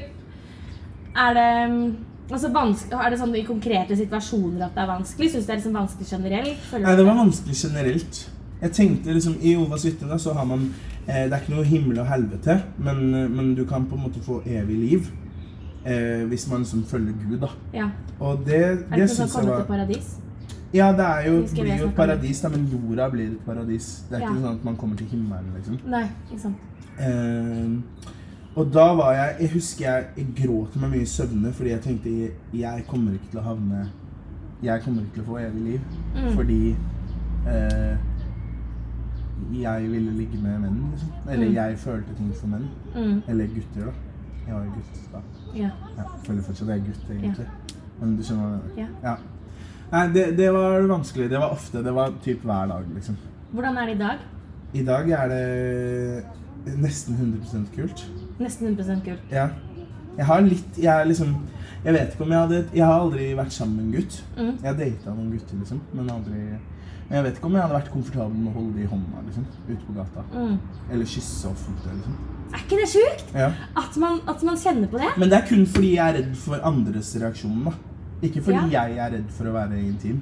S4: Er det mm, Altså, vanske- er det sånn i konkrete situasjoner at det er vanskelig? Syns du det er liksom vanskelig generelt? Føler du
S5: Nei, det var
S4: det?
S5: vanskelig generelt. Jeg tenkte liksom, I Ovas hytte da, så har man eh, Det er ikke noe himmel og helvete, men, eh, men du kan på en måte få evig liv. Eh, hvis man liksom følger Gud, da.
S4: Ja.
S5: Og det,
S4: Er det
S5: det
S4: ikke sånn å
S5: syns jeg
S4: komme til
S5: var
S4: paradis?
S5: Ja, det er jo,
S4: Husker vi
S5: blir jo
S4: snakket
S5: et
S4: om det?
S5: paradis, da, men jorda blir et paradis. Det er
S4: Ja.
S5: ikke sånn at man kommer til himmelen, liksom.
S4: Nei, ikke sant.
S5: Eh, og da var jeg Jeg husker jeg, jeg gråt meg mye i søvne fordi jeg tenkte jeg, jeg kommer ikke til å havne Jeg kommer ikke til å få evig liv. Fordi eh, jeg ville ligge med menn, liksom. Eller jeg følte ting for menn. Eller gutter, da. Jeg var jo gutt da.
S4: Mm, Ja.
S5: Ja, jeg føler fortsatt at jeg er gutt, egentlig. Men du skjønner hva jeg
S4: Ja.
S5: mener. Ja. Nei, det, det var vanskelig. Det var ofte. Det var typ hver dag, liksom.
S4: Hvordan er det i dag?
S5: I dag er det nesten 100 kult.
S4: Nesten 100 kult.
S5: Ja. Jeg har litt Jeg er liksom Jeg vet ikke om jeg hadde Jeg har aldri vært sammen med en gutt.
S4: Mm.
S5: Jeg har data noen gutter, liksom, men aldri Men jeg vet ikke om jeg hadde vært komfortabel med å holde de i hånda liksom, ute på gata.
S4: Mm.
S5: Eller kysse offentlig, liksom.
S4: Er ikke det sjukt?
S5: Ja.
S4: At man, at man kjenner på det?
S5: Men det er kun fordi jeg er redd for andres reaksjon, da. Ikke fordi
S4: Ja.
S5: jeg er redd for å være intim.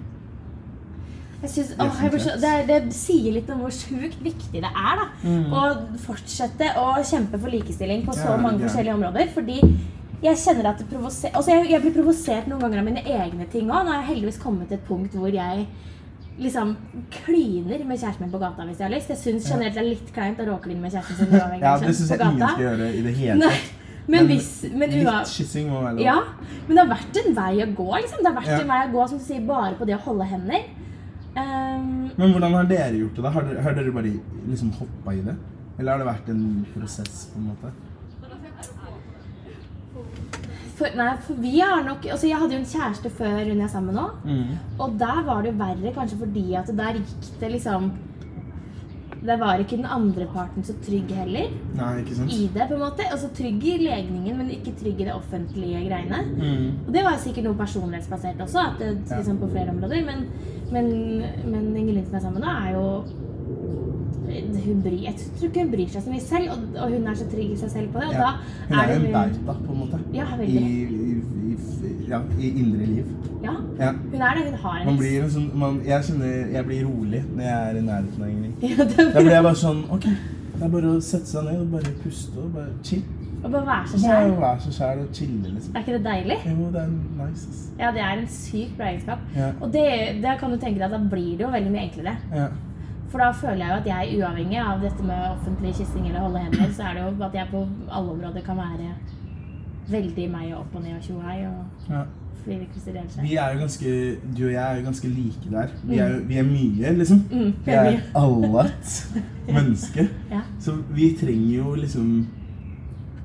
S4: Jeg synes, åh, jeg blir så, det, er- det sier litt om hvor sjukt viktig det er da, å fortsette å kjempe for likestilling på så
S5: Mm. Ja,
S4: mange
S5: ja.
S4: forskjellige områder. Fordi jeg kjenner at det provoserer altså jeg, jeg blir provosert noen ganger av mine egne ting òg. Nå har jeg heldigvis kommet til et punkt hvor jeg liksom kliner med kjæresten min på gata hvis jeg har lyst. Jeg syns generelt det er litt kleint å råkline med kjæresten sin uavhengig
S5: Ja,
S4: av
S5: Det
S4: kjønn
S5: syns jeg
S4: på
S5: ingen
S4: gata.
S5: skal gjøre i det hele
S4: Nei,
S5: tatt.
S4: men hvis, men uav-
S5: Litt kyssing må være lov.
S4: ja, men det har vært en vei å gå. liksom. Det har vært
S5: Ja.
S4: en vei å gå som du sier, bare på det å holde hender. Ehm,
S5: Men hvordan har dere gjort det? da? Har dere, har dere bare liksom hoppa i det? Eller har det vært en prosess, på en måte?
S4: for, nei, for vi har nok, altså Jeg hadde jo en kjæreste før hun jeg er sammen med nå. Og der var det jo verre, kanskje fordi at der gikk det liksom Der var ikke den andre parten så trygg heller
S5: Nei, ikke sant?
S4: i det. på en måte. Altså Trygg i legningen, men ikke trygg i det offentlige greiene.
S5: Mm.
S4: Og det var sikkert noe personlighetsbasert også, at det,
S5: Ja.
S4: liksom, på flere områder. Men, men, men Ingelin som er sammen med nå, er jo hun bryr, Jeg tror ikke hun bryr seg så mye selv, og, og hun er så trygg i seg selv på det. Og
S5: Ja. Hun
S4: da
S5: er
S4: er
S5: jo en
S4: det
S5: bauta, på en måte.
S4: Ja,
S5: I,
S4: veldig.
S5: i, i, ja, i indre liv.
S4: Ja,
S5: Ja.
S4: hun er det. Hun har en
S5: Man blir en sånn, man, jeg kjenner jeg blir rolig når jeg er i nærheten av Ingrid.
S4: Ja, det
S5: Da blir jeg bare sånn OK, det er bare å sette seg ned og bare puste og bare chill.
S4: Å bare være seg
S5: Bare
S4: sjæl.
S5: å være seg sjæl og chille, liksom.
S4: Er ikke det deilig?
S5: Jo, det er nice, ass.
S4: Ja, det er en syk bra egenskap.
S5: Ja.
S4: Og det, det kan du tenke deg at da blir det jo veldig mye enklere.
S5: Ja.
S4: For da føler jeg jo at jeg, uavhengig av dette med offentlig kyssing eller holde hender, så er det jo at jeg på alle områder kan være veldig meg og opp og ned og tjohei og
S5: Ja.
S4: flirekrysser hele seg.
S5: Vi er jo ganske, du og jeg er jo ganske like der. Vi er,
S4: Mm.
S5: jo- vi er mye, liksom. vi er
S4: mye.
S5: allet menneske.
S4: Ja.
S5: Så vi trenger jo liksom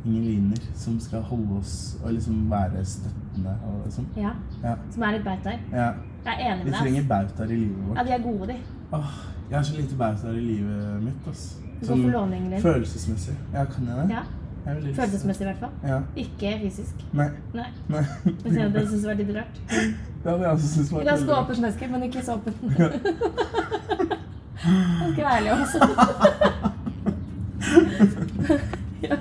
S5: ingen liner som skal holde oss og liksom være støttende og sånn.
S4: Ja.
S5: Ja.
S4: Som er litt bautaer.
S5: ja.
S4: Jeg er enig
S5: Vi
S4: med deg.
S5: trenger bautaer i livet
S4: ass. Ja,
S5: vårt.
S4: de er gode, de.
S5: Åh, jeg har så lite bautaer i livet mitt, ass. Sånn
S4: Du går for låningen din.
S5: følelsesmessig. Ja, kan jeg det?
S4: Ja.
S5: Jeg er veldig lyst til-
S4: Følelsesmessig, i hvert fall.
S5: Ja.
S4: Ikke fysisk.
S5: Nei.
S4: Nei.
S5: Nei.
S4: Det synes jeg var litt rart.
S5: Det hadde jeg også syntes var
S4: Ganske
S5: veldig-
S4: åpent menneske, men ikke så åpent. Ganske ærlig også. Ja.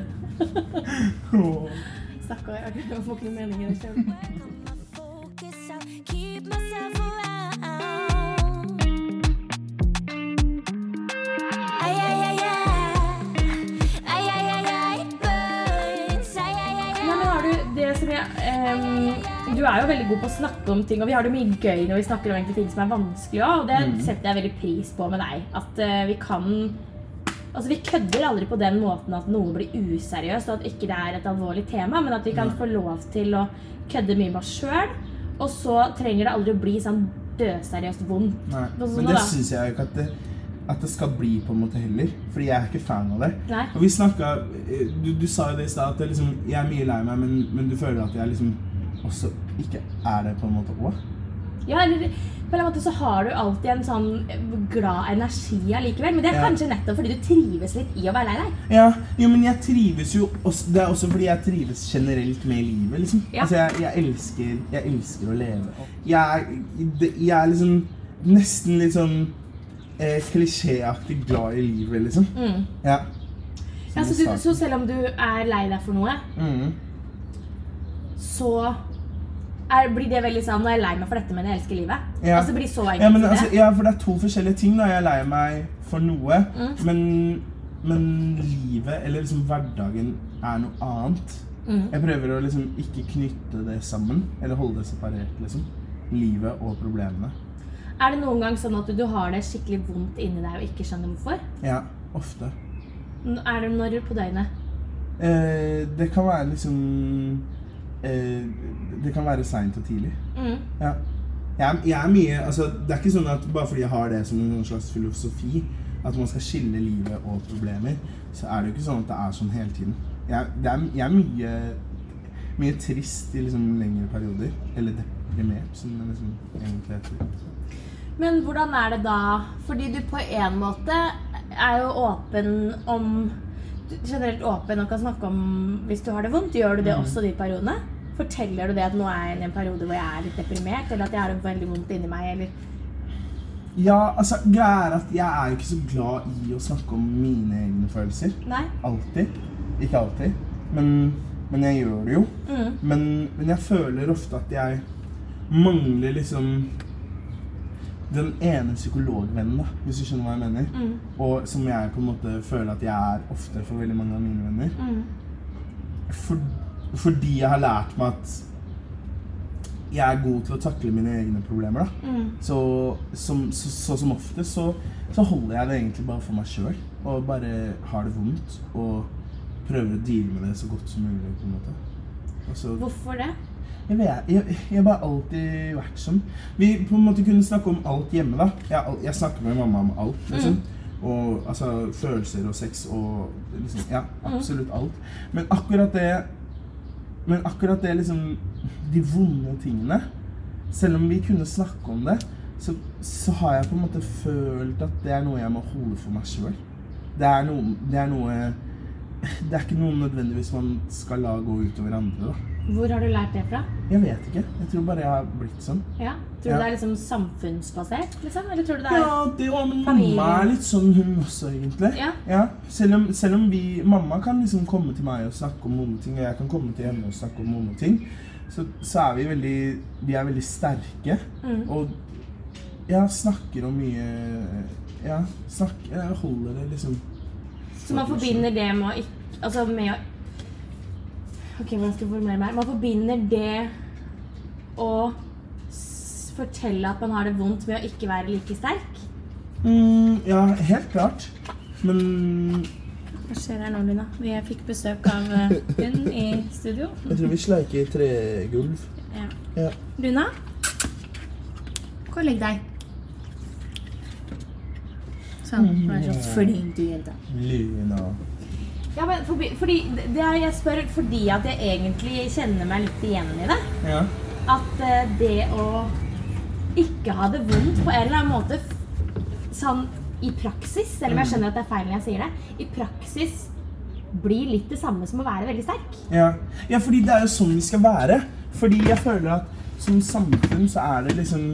S5: Åh.
S4: Stakkar, jeg kan- jeg får ikke noe mening i det selv. Nei, men har du det som jeg ehm, Du er jo veldig god på å snakke om ting, og vi har det mye gøy når vi snakker om egentlig ting som er vanskelig også, og
S5: Mm.
S4: det setter jeg veldig pris på med deg. At eh, vi kan Altså, Vi kødder aldri på den måten at noe blir useriøst, og at ikke det er et alvorlig tema, men at vi kan få lov til å kødde mye med oss sjøl. Og så trenger det aldri å bli sånn dødseriøst vondt.
S5: Nei,
S4: Sånn som
S5: men
S4: nå,
S5: det
S4: da.
S5: syns jeg jo ikke at det, at det skal bli på en måte heller. Fordi jeg er ikke fan av det.
S4: Nei.
S5: Og vi snakket, eh, du, du sa jo det i stad at det liksom, jeg er mye lei meg, men, men du føler at jeg liksom også ikke er det på en måte òg.
S4: Ja, eller på en eller annen måte så har du alltid en sånn glad energi allikevel. Men det er
S5: Ja.
S4: kanskje nettopp fordi du trives litt i å være lei deg.
S5: Ja, jo, men jeg trives jo også, Det er også fordi jeg trives generelt med livet, liksom.
S4: Ja.
S5: Altså, jeg, jeg elsker Jeg elsker å leve. Jeg, er- det- jeg er liksom nesten litt sånn eh, klisjéaktig glad i livet, liksom.
S4: Mm.
S5: Ja. Som
S4: Ja, så,
S5: du
S4: du,
S5: sa.
S4: så selv om du er lei deg for noe,
S5: Mhm.
S4: så er, blir det veldig sånn Nå er jeg lei meg for dette, men jeg elsker livet.
S5: Ja.
S4: Altså blir så enkelt
S5: Ja, men,
S4: i det.
S5: altså, ja, for det er to forskjellige ting. da. Jeg er lei meg for noe,
S4: Mm.
S5: men, men livet, eller liksom hverdagen, er noe annet.
S4: Mm.
S5: Jeg prøver å liksom ikke knytte det sammen, eller holde det separert, liksom. Livet og problemene.
S4: Er det noen gang sånn at du, du har det skikkelig vondt inni deg og ikke skjønner hvorfor?
S5: Ja, ofte.
S4: N- Er det når på døgnet?
S5: Eh, det kan være liksom eh, Det kan være seint og tidlig. Ja. Jeg, er- jeg er mye altså, Det er ikke sånn at bare fordi jeg har det som en sånn slags filosofi, at man skal skille livet og problemer, så er det jo ikke sånn at det er sånn hele tiden. Jeg, det er, jeg er mye, mye trist i liksom lengre perioder. Eller deprimert, som det liksom egentlig heter.
S4: Men hvordan er det da? Fordi du på en måte er jo åpen om du er Generelt åpen og kan snakke om hvis du har det vondt. Gjør du det
S5: Mm.
S4: også de periodene? Forteller du det at nå er jeg inne i en periode hvor jeg er litt deprimert, eller at jeg har det veldig vondt inni meg, eller
S5: Ja, altså, greia er at jeg er jo ikke så glad i å snakke om mine egne følelser.
S4: Nei?
S5: Alltid. Ikke alltid, men, men jeg gjør det jo. Men, men jeg føler ofte at jeg mangler liksom den ene psykologvennen, da, hvis du skjønner hva jeg mener. Og som jeg på en måte føler at jeg er ofte for veldig mange av mine venner. For, fordi jeg har lært meg at jeg er god til å takle mine egne problemer. Da. Så, som, så, så som ofte så, så holder jeg det egentlig bare for meg sjøl. Og bare har det vondt og prøver å deale med det så godt som mulig. på en måte. Og så,
S4: Hvorfor det?
S5: jeg, vet, jeg, jeg har bare alltid vært sånn. Vi på en måte kunne snakke om alt hjemme. da. Jeg, har al- jeg snakker med mamma om alt. liksom. Og altså, Følelser og sex og liksom, ja, absolutt alt. Men akkurat det Men akkurat det liksom De vonde tingene Selv om vi kunne snakke om det, så, så har jeg på en måte følt at det er noe jeg må holde for meg sjøl. Det, er noe- det er noe Det er ikke noe nødvendigvis man skal la gå utover andre. da.
S4: Hvor har du lært det fra?
S5: Jeg vet ikke. Jeg tror bare jeg har blitt sånn.
S4: Ja. Tror du
S5: Ja.
S4: det er liksom samfunnsbasert, liksom? Eller tror du det er
S5: Ja, det var, men
S4: Familien.
S5: mamma er litt sånn hun også, egentlig.
S4: Ja.
S5: Selv, om, selv om vi Mamma kan liksom komme til meg og snakke om vonde ting, og jeg kan komme til henne og snakke om vonde ting, så, så er vi veldig Vi er veldig sterke. Og jeg snakker om mye Ja, snakker Jeg holder det liksom
S4: Så man forbinder det med å, ikke, altså med å Ok, hvordan skal jeg formulere meg? her? Man forbinder det å s fortelle at man har det vondt med å ikke være like sterk.
S5: Mm, ja, helt klart. Men
S4: Hva skjer her nå, Lina? Vi fikk besøk av eh, hun i studio.
S5: jeg tror vi sleiker tregulv.
S4: Ja.
S5: Ja.
S4: Luna, gå og legg deg. Sånn. Vær så flink, du jenta.
S5: Luna.
S7: Ja, men forbi, fordi, det det er, jeg spør fordi at jeg egentlig kjenner meg litt igjen i det.
S5: Ja.
S7: At eh, det å ikke ha det vondt på en eller annen måte f- sånn i praksis, selv om jeg skjønner at det er feil når jeg sier det, i praksis blir litt det samme som å være veldig sterk.
S5: Ja. ja, fordi det er jo sånn vi skal være. Fordi jeg føler at som samfunn så er det liksom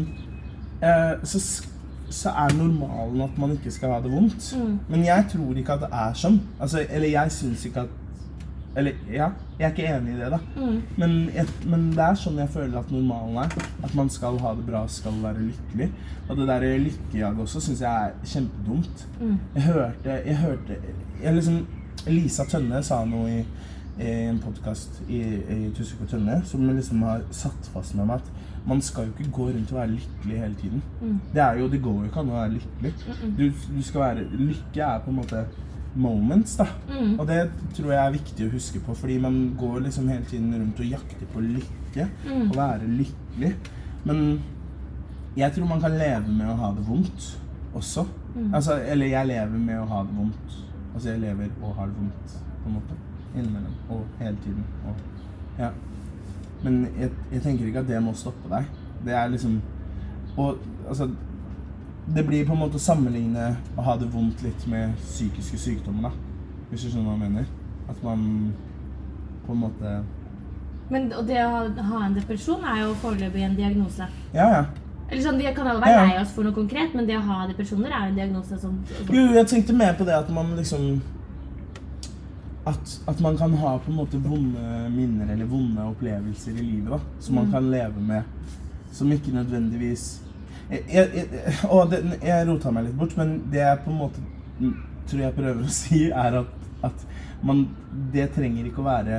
S5: eh, så, sk- så er normalen at man ikke skal ha det vondt. Men jeg tror ikke at det er sånn. Altså, eller jeg syns ikke at Eller ja, jeg er ikke enig i det, da. Men, jeg, men det er sånn jeg føler at normalen er. At man skal ha det bra, skal være lykkelig. Og det der lykkejaget også syns jeg er kjempedumt. Jeg hørte, jeg hørte jeg liksom, Lisa Tønne sa noe i, i en podkast i, i Tusvik og Tønne som liksom har satt fast med meg at man skal jo ikke gå rundt og være lykkelig hele tiden. Det, er jo, det går jo ikke an å være lykkelig. Du, du skal være, lykke er på en måte moments, da. Og det tror jeg er viktig å huske på, fordi man går liksom hele tiden rundt og jakter på lykke. Og være lykkelig. Men jeg tror man kan leve med å ha det vondt også. Altså, eller jeg lever med å ha det vondt. Altså jeg lever og har det vondt på en måte. Innimellom. Og hele tiden. Og, ja. Men jeg, jeg tenker ikke at det må stoppe deg. Det er liksom Og altså Det blir på en måte å sammenligne å ha det vondt litt med psykiske sykdommer, da. Hvis du skjønner hva jeg mener? At man på en måte
S4: Men og det å ha- ha en depresjon er jo foreløpig en diagnose.
S5: Ja, ja.
S4: Eller sånn, Vi kan alle være
S5: Ja.
S4: lei oss for noe konkret, men det å ha depresjoner er jo en diagnose som
S5: Jo, jeg tenkte mer på det at man liksom at, at man kan ha på en måte vonde minner eller vonde opplevelser i livet da, som man kan leve med. Som ikke nødvendigvis jeg, jeg, jeg, å, det, jeg rota meg litt bort, men det jeg på en måte mm, tror jeg prøver å si, er at, at man Det trenger ikke å være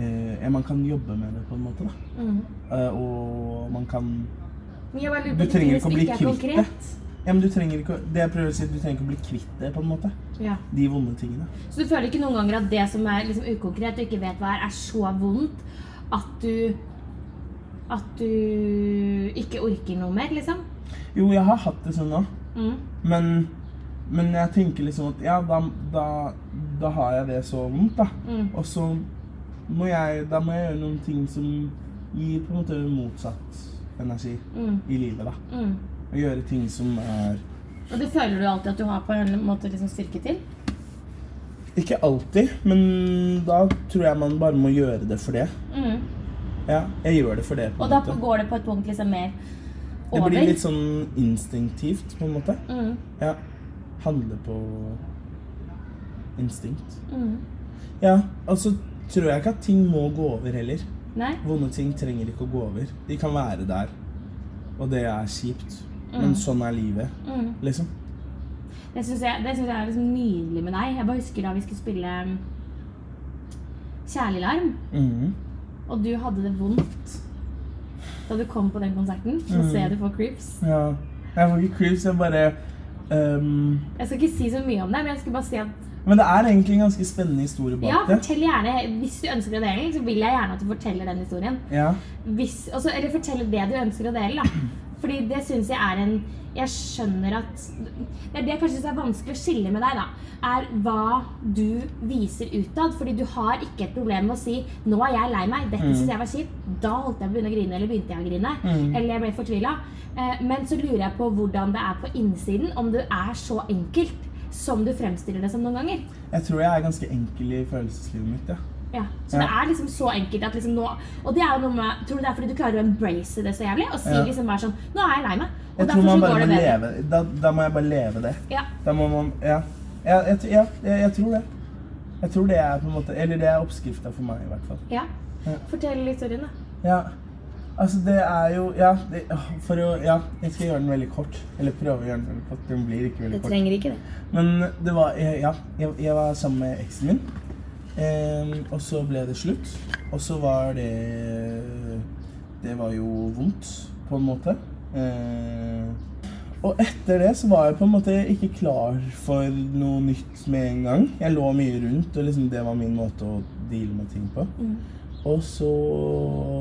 S5: eh, ja, Man kan jobbe med det på en måte, da. Eh, og man kan
S7: Men jeg bare lurer
S5: Du
S7: på
S5: trenger
S7: hvis
S5: ikke å bli
S7: er
S5: kvitt det.
S7: konkret.
S5: Ja, men du trenger ikke å, det jeg prøver å si, du trenger ikke å bli kvitt det, på en måte.
S7: Ja.
S5: De vonde tingene.
S7: Så du føler ikke noen ganger at det som er liksom ukonkret og ikke vet hva er, er så vondt at du At du ikke orker noe mer, liksom?
S5: Jo, jeg har hatt det sånn nå.
S7: Mm.
S5: Men, men jeg tenker liksom at ja, da, da, da har jeg det så vondt, da.
S4: Mm.
S5: Og så må jeg, da må jeg gjøre noen ting som gir på en måte motsatt energi i livet, da.
S4: Mm.
S5: Og gjøre ting som er
S4: Og det føler du alltid at du har på en måte liksom styrke til.
S5: Ikke alltid, men da tror jeg man bare må gjøre det for det.
S4: Mm.
S5: Ja, jeg gjør det for det. på
S4: Og
S5: en
S4: da
S5: måte.
S4: går det på et punkt liksom mer
S5: Det
S4: over.
S5: blir litt sånn instinktivt, på en måte.
S4: Mm.
S5: Ja. Handle på instinkt.
S4: Mm.
S5: Ja, og så tror jeg ikke at ting må gå over heller.
S4: Nei?
S5: Vonde ting trenger ikke å gå over. De kan være der, og det er kjipt.
S4: Mm.
S5: Men sånn er livet, liksom.
S4: Det syns jeg, det synes jeg er liksom nydelig med deg. Jeg bare husker da vi skulle spille um, Kjærligalarm,
S5: Mhm.
S4: og du hadde det vondt da du kom på den konserten. Så
S5: Mhm.
S4: ser jeg du får creeps.
S5: Ja. Jeg får ikke creeps, jeg bare ehm,
S4: Jeg skal ikke si så mye om det, men jeg skulle bare si at
S5: Men det er egentlig en ganske spennende historie
S4: ja,
S5: bak det.
S4: fortell gjerne, hvis du ønsker å dele den, så vil jeg gjerne at du forteller den historien.
S5: Ja.
S4: hvis, også, eller fortelle det du ønsker å dele. Da. Fordi det syns jeg er en Jeg skjønner at Det er det jeg kanskje synes er vanskelig å skille med deg, da. Er hva du viser utad. Fordi du har ikke et problem med å si 'Nå er jeg lei meg. Dette syns jeg var kjipt.' Da holdt jeg på å begynne å grine, eller begynte jeg å grine. Eller jeg ble fortvila. Eh, Men så lurer jeg på hvordan det er på innsiden. Om det er så enkelt som du fremstiller det som noen ganger.
S5: Jeg tror jeg er ganske enkel i følelseslivet mitt, ja.
S4: Ja, Så
S5: Ja.
S4: det er liksom så enkelt at liksom nå Og det er jo noe med Tror du det er fordi du klarer å embrace det så jævlig? Og si
S5: Ja.
S4: liksom bare sånn Nå er jeg lei meg. Og
S5: Jeg tror
S4: derfor så
S5: man bare
S4: går
S5: må
S4: det bedre.
S5: leve da, da må jeg bare leve det.
S4: Ja.
S5: Da må man Ja. Ja, jeg, tr- ja jeg, jeg tror det. Jeg tror det er på en måte Eller det er oppskrifta for meg, i hvert fall.
S4: Ja.
S5: Ja.
S4: Fortell historien, da.
S5: Ja. Altså, det er jo Ja, det, åh, for å Ja, jeg skal gjøre den veldig kort. Eller prøve å gjøre den veldig kort. Den blir ikke veldig kort.
S4: trenger ikke det.
S5: Men det var jeg- Ja, jeg, jeg var sammen med eksen min. Ehm, og så ble det slutt. Og så var det Det var jo vondt, på en måte. Ehm, og etter det så var jeg på en måte ikke klar for noe nytt med en gang. Jeg lå mye rundt, og liksom det var min måte å deale med ting på. Og så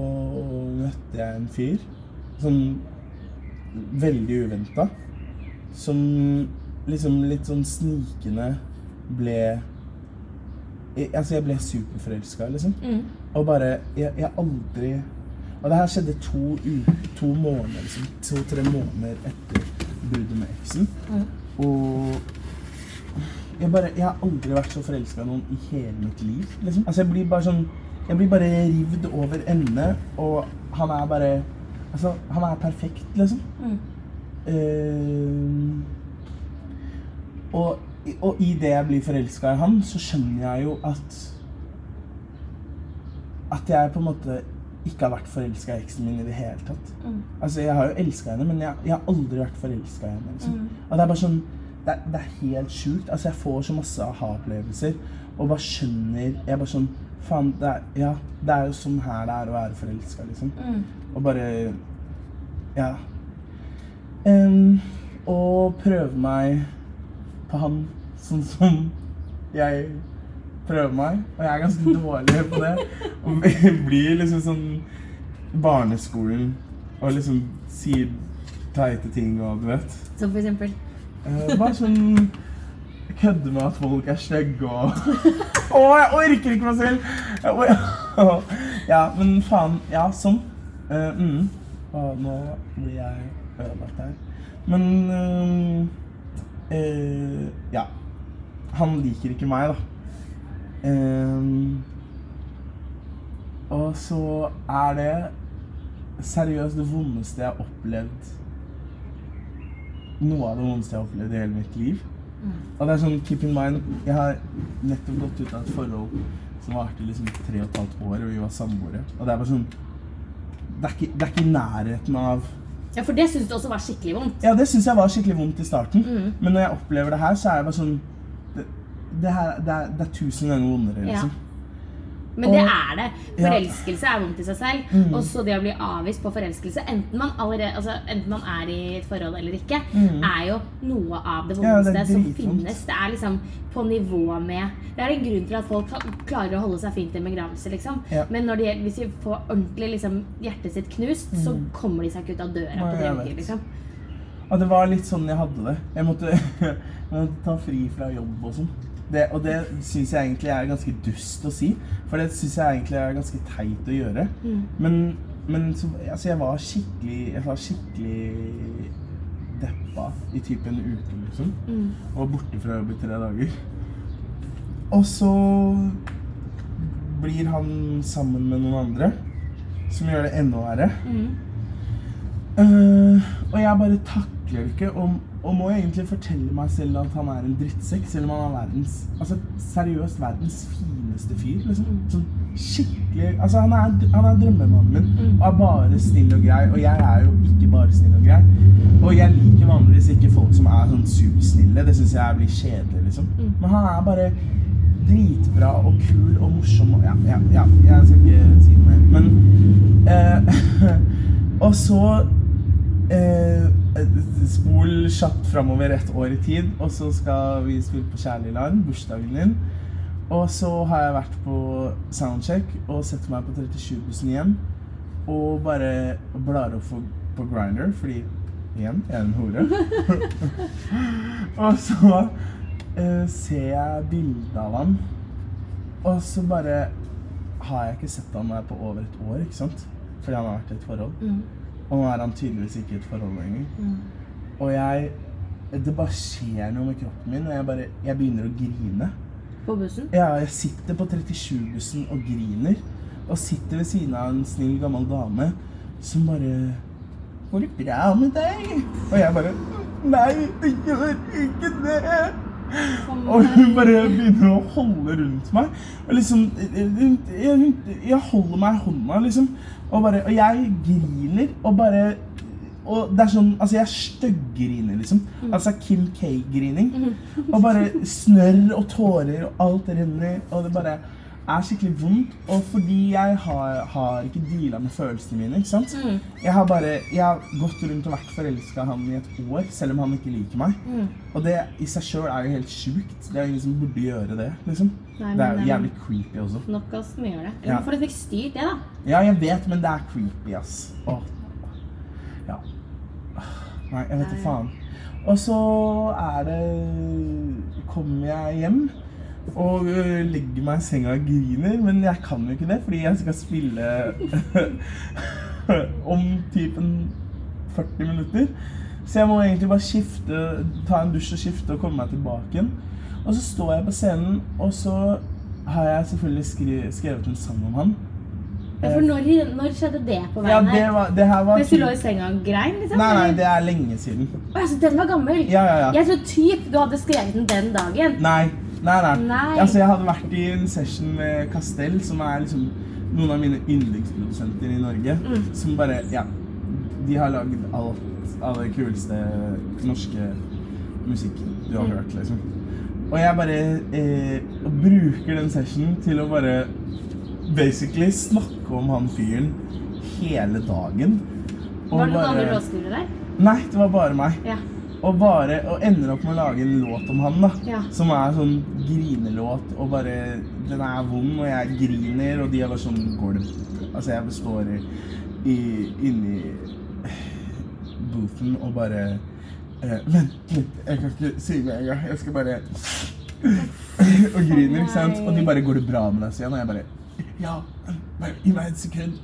S5: møtte jeg en fyr sånn veldig uventa. Som liksom litt sånn snikende ble jeg, Altså, jeg ble superforelska, liksom. Og bare Jeg har aldri Og det her skjedde to, u, to måneder, liksom. To-tre måneder etter bruddet med eksen. Og jeg bare Jeg har aldri vært så forelska i noen i hele mitt liv, liksom. Altså, jeg blir bare sånn Jeg blir bare rivd over ende, og han er bare Altså, han er perfekt, liksom. Eh, og, og i det jeg blir forelska i han, så skjønner jeg jo at At jeg på en måte ikke har vært forelska i eksen min i det hele tatt. Altså, Jeg har jo elska henne, men jeg, jeg har aldri vært forelska i henne. Liksom. Og det er bare sånn Det, er- det er helt sjukt. Altså, Jeg får så masse aha-opplevelser og bare skjønner Jeg bare sånn Faen, det er, ja, det er jo sånn her det er å være forelska, liksom. Og bare Ja. Em, og prøve meg på han sånn som jeg prøver meg. Og jeg er ganske dårlig på det. Og jeg blir liksom sånn barneskolen og liksom sier teite ting og du vet.
S4: Som for eksempel
S5: Eh, Bare sånn kødde med at folk er stygge og Å, jeg orker ikke meg selv! Jeg or- Ja, men faen. Ja, sånn. Eh, mm. Og nå blir jeg ødelagt her. Men eh, eh, Ja. Han liker ikke meg, da. Eh, og så er det seriøst det vondeste jeg har opplevd noe av det vondeste jeg har opplevd i hele mitt liv. Og det er sånn, keep in mind, Jeg har nettopp gått ut av et forhold som varte i liksom tre og et halvt år, og vi var samboere. Og det er bare sånn Det er ikke, det er ikke i nærheten av
S4: Ja, for det syns du også var skikkelig vondt.
S5: Ja, det syns jeg var skikkelig vondt i starten, men når jeg opplever det her, så er jeg bare sånn Det, det, her, det, er, det er tusen ganger vondere,
S4: Ja.
S5: liksom.
S4: Men det
S5: Og-
S4: er det.
S5: Ja. Mm.
S4: Forelskelse er vondt i seg selv. Og så det å bli avvist på forelskelse, enten man, allerede, altså, enten man er i et forhold eller ikke, er jo noe av det
S5: Mm. Ja, det
S4: vondeste
S5: er
S4: som
S5: dritvondt.
S4: finnes. Det er liksom på nivå med Det er en grunn til at folk kan- klarer å holde seg fint i en begravelse, liksom.
S5: Ja.
S4: Men når de, hvis de får ordentlig liksom, hjertet sitt knust, så kommer de seg ikke ut av døra
S5: Mm. Nei,
S4: på
S5: jeg
S4: det øyeblikket,
S5: vet.
S4: liksom.
S5: Og det var litt sånn jeg hadde det. Jeg måtte, jeg måtte ta fri fra jobb og sånn. Det, og det syns jeg egentlig er ganske dust å si, for det syns jeg egentlig er ganske teit å gjøre. Men, men så, altså jeg var skikkelig Jeg var skikkelig deppa i typ en uke, liksom. Og var borte fra jobb i tre dager. Og så blir han sammen med noen andre, som gjør det enda verre. Eh, og jeg bare takler det ikke, og, og må egentlig fortelle meg selv at han er en drittsekk, selv om han er verdens, altså seriøst verdens fineste fyr, liksom. Sånn skikkelig, altså han er, han er drømmemannen min, og er bare snill og grei, og jeg er jo ikke bare snill og grei. Og jeg liker vanligvis ikke folk som er sånn supersnille, det synes jeg blir kjedelig, liksom. Men han er bare dritbra og kul og morsom, og ja, ja, ja, jeg skal ikke si noe mer, men... eh, og så eh, Spol kjapt framover ett år i tid, og så skal vi spille på Kjærlig Larm, bursdagen din. Og så har jeg vært på soundcheck og setter meg på 37-bussen hjem og bare blar opp for, på Grinder, fordi igjen, jeg er en hore. og så eh, ser jeg bildet av han, og så bare har jeg ikke sett han her på over et år, ikke sant? Fordi han har vært i et forhold. Og nå er han tydeligvis ikke i et forhold lenger. Og jeg Det bare skjer noe med kroppen min, og jeg bare Jeg begynner å grine.
S4: På bussen.
S5: Ja, jeg sitter på 37-bussen og griner. Og sitter ved siden av en snill, gammel dame som bare 'Går det bra med deg?' Og jeg bare 'Nei, det gjør ikke det'. Og hun bare begynner å holde rundt meg. Og liksom hun- hun- Jeg holder meg i hånda, liksom. Og, bare, og jeg griner og bare og det er sånn, altså Jeg støggriner, liksom. Altså Kim K-grining. Og bare snørr og tårer og alt renner. Og det bare er skikkelig vondt, og fordi jeg har, har ikke deala med følelsene mine. ikke sant? Jeg har bare, jeg har gått rundt og vært forelska i han i et år, selv om han ikke liker meg. Og det i seg sjøl er jo helt sjukt. Det er jo ingen som burde gjøre det. liksom.
S4: Nei,
S5: det er
S4: men,
S5: jo
S4: eh,
S5: jævlig creepy også.
S4: Nok av oss som gjør det. Eller
S5: Ja.
S4: hvorfor det fikk styrt det, da?
S5: Ja, jeg vet, men det er creepy, ass. Åh. Ja. Nei, jeg vet da faen. Og så er det Kommer jeg hjem og ø, legger meg i senga og griner, men jeg kan jo ikke det, fordi jeg skal spille om typen 40 minutter. Så jeg må egentlig bare skifte, ta en dusj og skifte og komme meg tilbake igjen. Og så står jeg på scenen, og så har jeg selvfølgelig skri skrevet en sang om han.
S4: Ja, For når, når skjedde det på
S5: Ja,
S4: veien
S5: det, var, det her var
S4: Mens du lå i senga og grein? liksom?
S5: Nei, nei,
S4: eller?
S5: det er lenge siden.
S4: Å, altså, den var gammel?
S5: Ja, ja, ja.
S4: Jeg tror typ du hadde skrevet den den dagen.
S5: Nei. Nei, nei.
S4: Nei.
S5: Altså, jeg hadde vært i en session med Castell, som er liksom noen av mine yndlingsprodusenter i Norge.
S4: Mm.
S5: Som bare Ja. De har lagd alt av det kuleste norske musikken
S4: Mm.
S5: du har hørt, liksom. Og jeg bare eh, bruker den sessionen til å bare basically snakke om han fyren hele dagen. Og
S4: Var det noen
S5: bare-
S4: andre låtskrivere der?
S5: Nei, det var bare meg.
S4: Ja.
S5: Og, bare, og ender opp med å lage en låt om han, da.
S4: Ja.
S5: Som er sånn grinelåt, og bare Den er vond, og jeg griner, og de er bare sånn Går det Altså, jeg består i, i, inni boothen og bare eh, Vent litt, jeg kan ikke synge med en gang. Jeg skal bare Og griner, ikke sant? Og de bare Går det bra med deg, sier han, og jeg bare Ja, bare gi meg et sekund.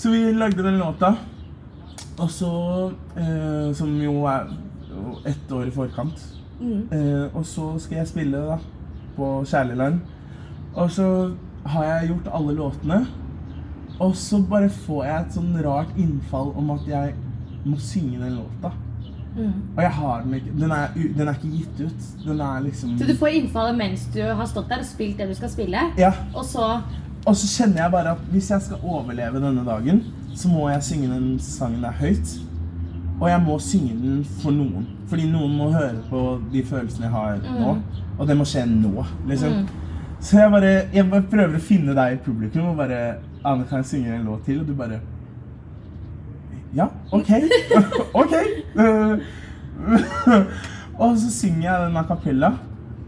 S5: Så vi lagde den låta. Og så eh, Som jo er jo ett år i forkant.
S4: Mm.
S5: Eh, og så skal jeg spille da på Kjærligland. Og så har jeg gjort alle låtene. Og så bare får jeg et sånn rart innfall om at jeg må synge den låta.
S4: Mm.
S5: Og jeg har den ikke. Den er, u- den er ikke gitt ut. Den er liksom
S4: Så du får innfallet mens du har stått der og spilt det du skal spille,
S5: Ja.
S4: og så
S5: Og så kjenner jeg bare at hvis jeg skal overleve denne dagen, så må jeg synge den sangen der høyt. Og jeg må synge den for noen. Fordi noen må høre på de følelsene jeg har nå. Og det må skje nå, liksom. Så jeg bare, jeg bare prøver å finne deg i publikum og bare Ane, kan jeg synge en låt til? Og du bare Ja, OK. OK. Eh, og så synger jeg den a cappella,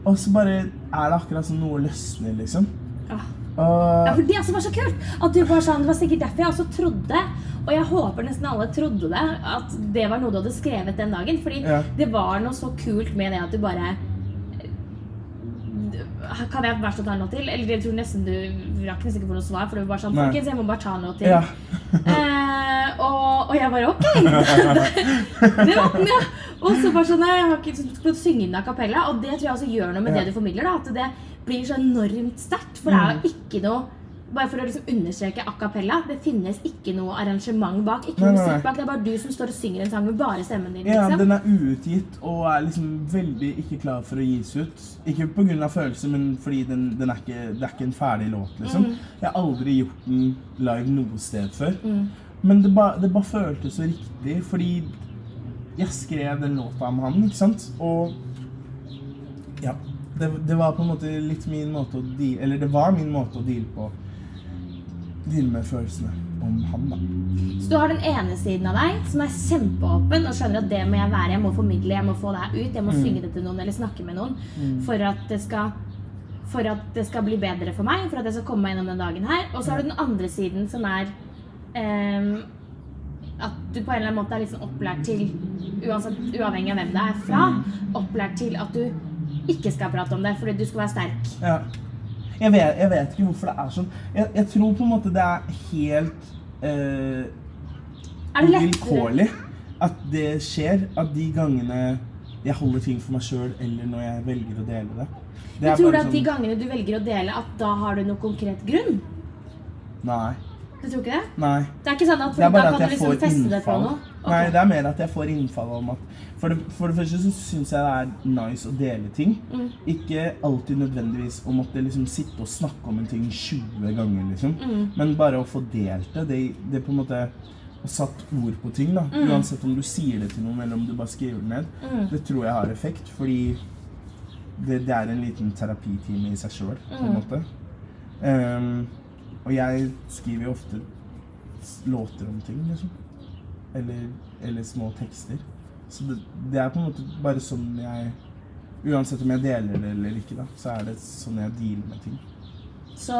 S5: og så bare er det akkurat som noe løsner, liksom. Og-
S4: Ja, for det også var så kult! At du var sånn, Det var sikkert derfor jeg også trodde, og jeg håper nesten alle trodde det, at det var noe du hadde skrevet den dagen. Fordi
S5: Ja.
S4: det var noe så kult med det at du bare eh, Kan jeg bare så ta en låt til? Eller jeg tror nesten du rakk nesten ikke på noe svar, for du var sånn
S5: Nei.
S4: Folkens, jeg må bare ta en låt til.
S5: Ja.
S4: Eh, og, og jeg bare OK! det var den, ja. Og så bare sånn nei, Jeg har ikke lyst til å synge den a cappella. Og det tror jeg også gjør noe med
S5: Ja. Mm.
S4: det du formidler. da At det blir så enormt sterkt. For det er jo ikke noe Bare for å liksom understreke a cappella, det finnes ikke noe arrangement bak. Ikke
S5: Nei,
S4: noe
S5: nei, nei.
S4: musikk bak. Det er bare du som står og synger en sang med bare stemmen din.
S5: Ja,
S4: liksom.
S5: den er uutgitt og er liksom veldig ikke klar for å gis ut. Ikke pga. følelser, men fordi den, den er ikke, det er ikke en ferdig låt, liksom.
S4: Mm.
S5: Jeg har aldri gjort den live noe sted før.
S4: Mm.
S5: Men det bare det ba føltes så riktig, fordi jeg skrev den låta om han, ikke sant? Og ja, det, det var på en måte litt min måte å deale Eller det var min måte å deale på. Deale med følelsene om han, da.
S4: Så du har den ene siden av deg som er kjempeåpen og skjønner at det må jeg være, jeg må formidle, jeg må få det her ut, jeg må synge det til noen eller snakke med noen for, at det skal, for at det skal bli bedre for meg, for at jeg skal komme meg gjennom den dagen her. Og så har du den andre siden som er ehm, at du på en eller annen måte er liksom opplært til, uansett, uavhengig av hvem det er fra, opplært til at du ikke skal prate om det fordi du skal være sterk.
S5: Ja. Jeg vet, jeg vet ikke hvorfor det er sånn. Jeg, jeg tror på en måte det er helt eh,
S4: Er det lettere?
S5: vilkårlig at det skjer. At de gangene jeg holder ting for meg sjøl, eller når jeg velger å dele det. det
S4: Jeg tror du at de gangene du velger å dele, at da har du noen konkret grunn?
S5: sånn, Nei.
S4: Du tror ikke det?
S5: Nei.
S4: Det er ikke sånn at,
S5: Det er
S4: da
S5: bare
S4: kan
S5: at
S4: du
S5: jeg
S4: liksom
S5: får
S4: feste det på
S5: innfall.
S4: noe? Ok.
S5: Nei, det er mer at jeg får innfall om at For det, for det første så syns jeg det er nice å dele ting.
S4: Mm.
S5: Ikke alltid nødvendigvis å måtte liksom sitte og snakke om en ting 20 ganger, liksom.
S4: Mm.
S5: Men bare å få delt det, det, det på en måte og satt ord på ting, da.
S4: Mm.
S5: Uansett om du sier det til noen, eller om du bare skriver det ned. Det tror jeg har
S4: Mm.
S5: effekt, fordi det, det er en liten terapitime i seg sjøl, på en måte. Ehm, og jeg skriver jo ofte s- låter om ting, liksom. Eller, eller små tekster. Så det, det er på en måte bare sånn jeg Uansett om jeg deler det eller ikke, da, så er det sånn jeg dealer med ting.
S4: Så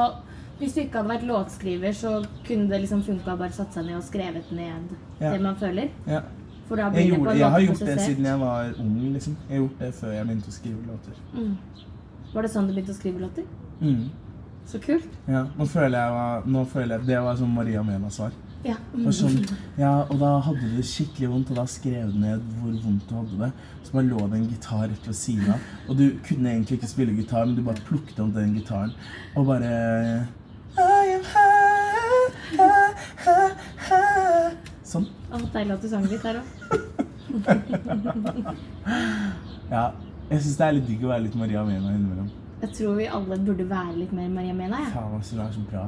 S4: hvis du ikke hadde vært låtskriver, så kunne det liksom funka å bare satt seg ned og skrevet ned
S5: Ja.
S4: det man føler?
S5: Ja.
S4: For da
S5: Jeg,
S4: blir det på
S5: gjorde,
S4: en
S5: jeg har
S4: måte
S5: gjort det
S4: prosessert.
S5: siden jeg var ung, liksom. Jeg har gjort det før jeg begynte å skrive låter.
S4: Var det sånn du begynte å skrive låter?
S5: Mm.
S4: Så kult.
S5: Ja, nå føler jeg, var- nå føler jeg Det var sånn Maria Mena-svar.
S4: Ja. Mm.
S5: Og Sånn, ja, og da hadde du det skikkelig vondt, og da skrev du ned hvor vondt du hadde det. Så bare lå det en gitar rett ved siden av, og du kunne egentlig ikke spille gitar, men du bare plukket opp den gitaren og bare I am high, high, high, high. Sånn.
S4: Å, deilig at du sang litt her òg.
S5: Ja. Jeg syns det er litt digg å være litt Maria Mena innimellom.
S4: Jeg tror vi alle burde være litt mer Maria Mena. jeg.
S5: Faen, altså, hun er så bra.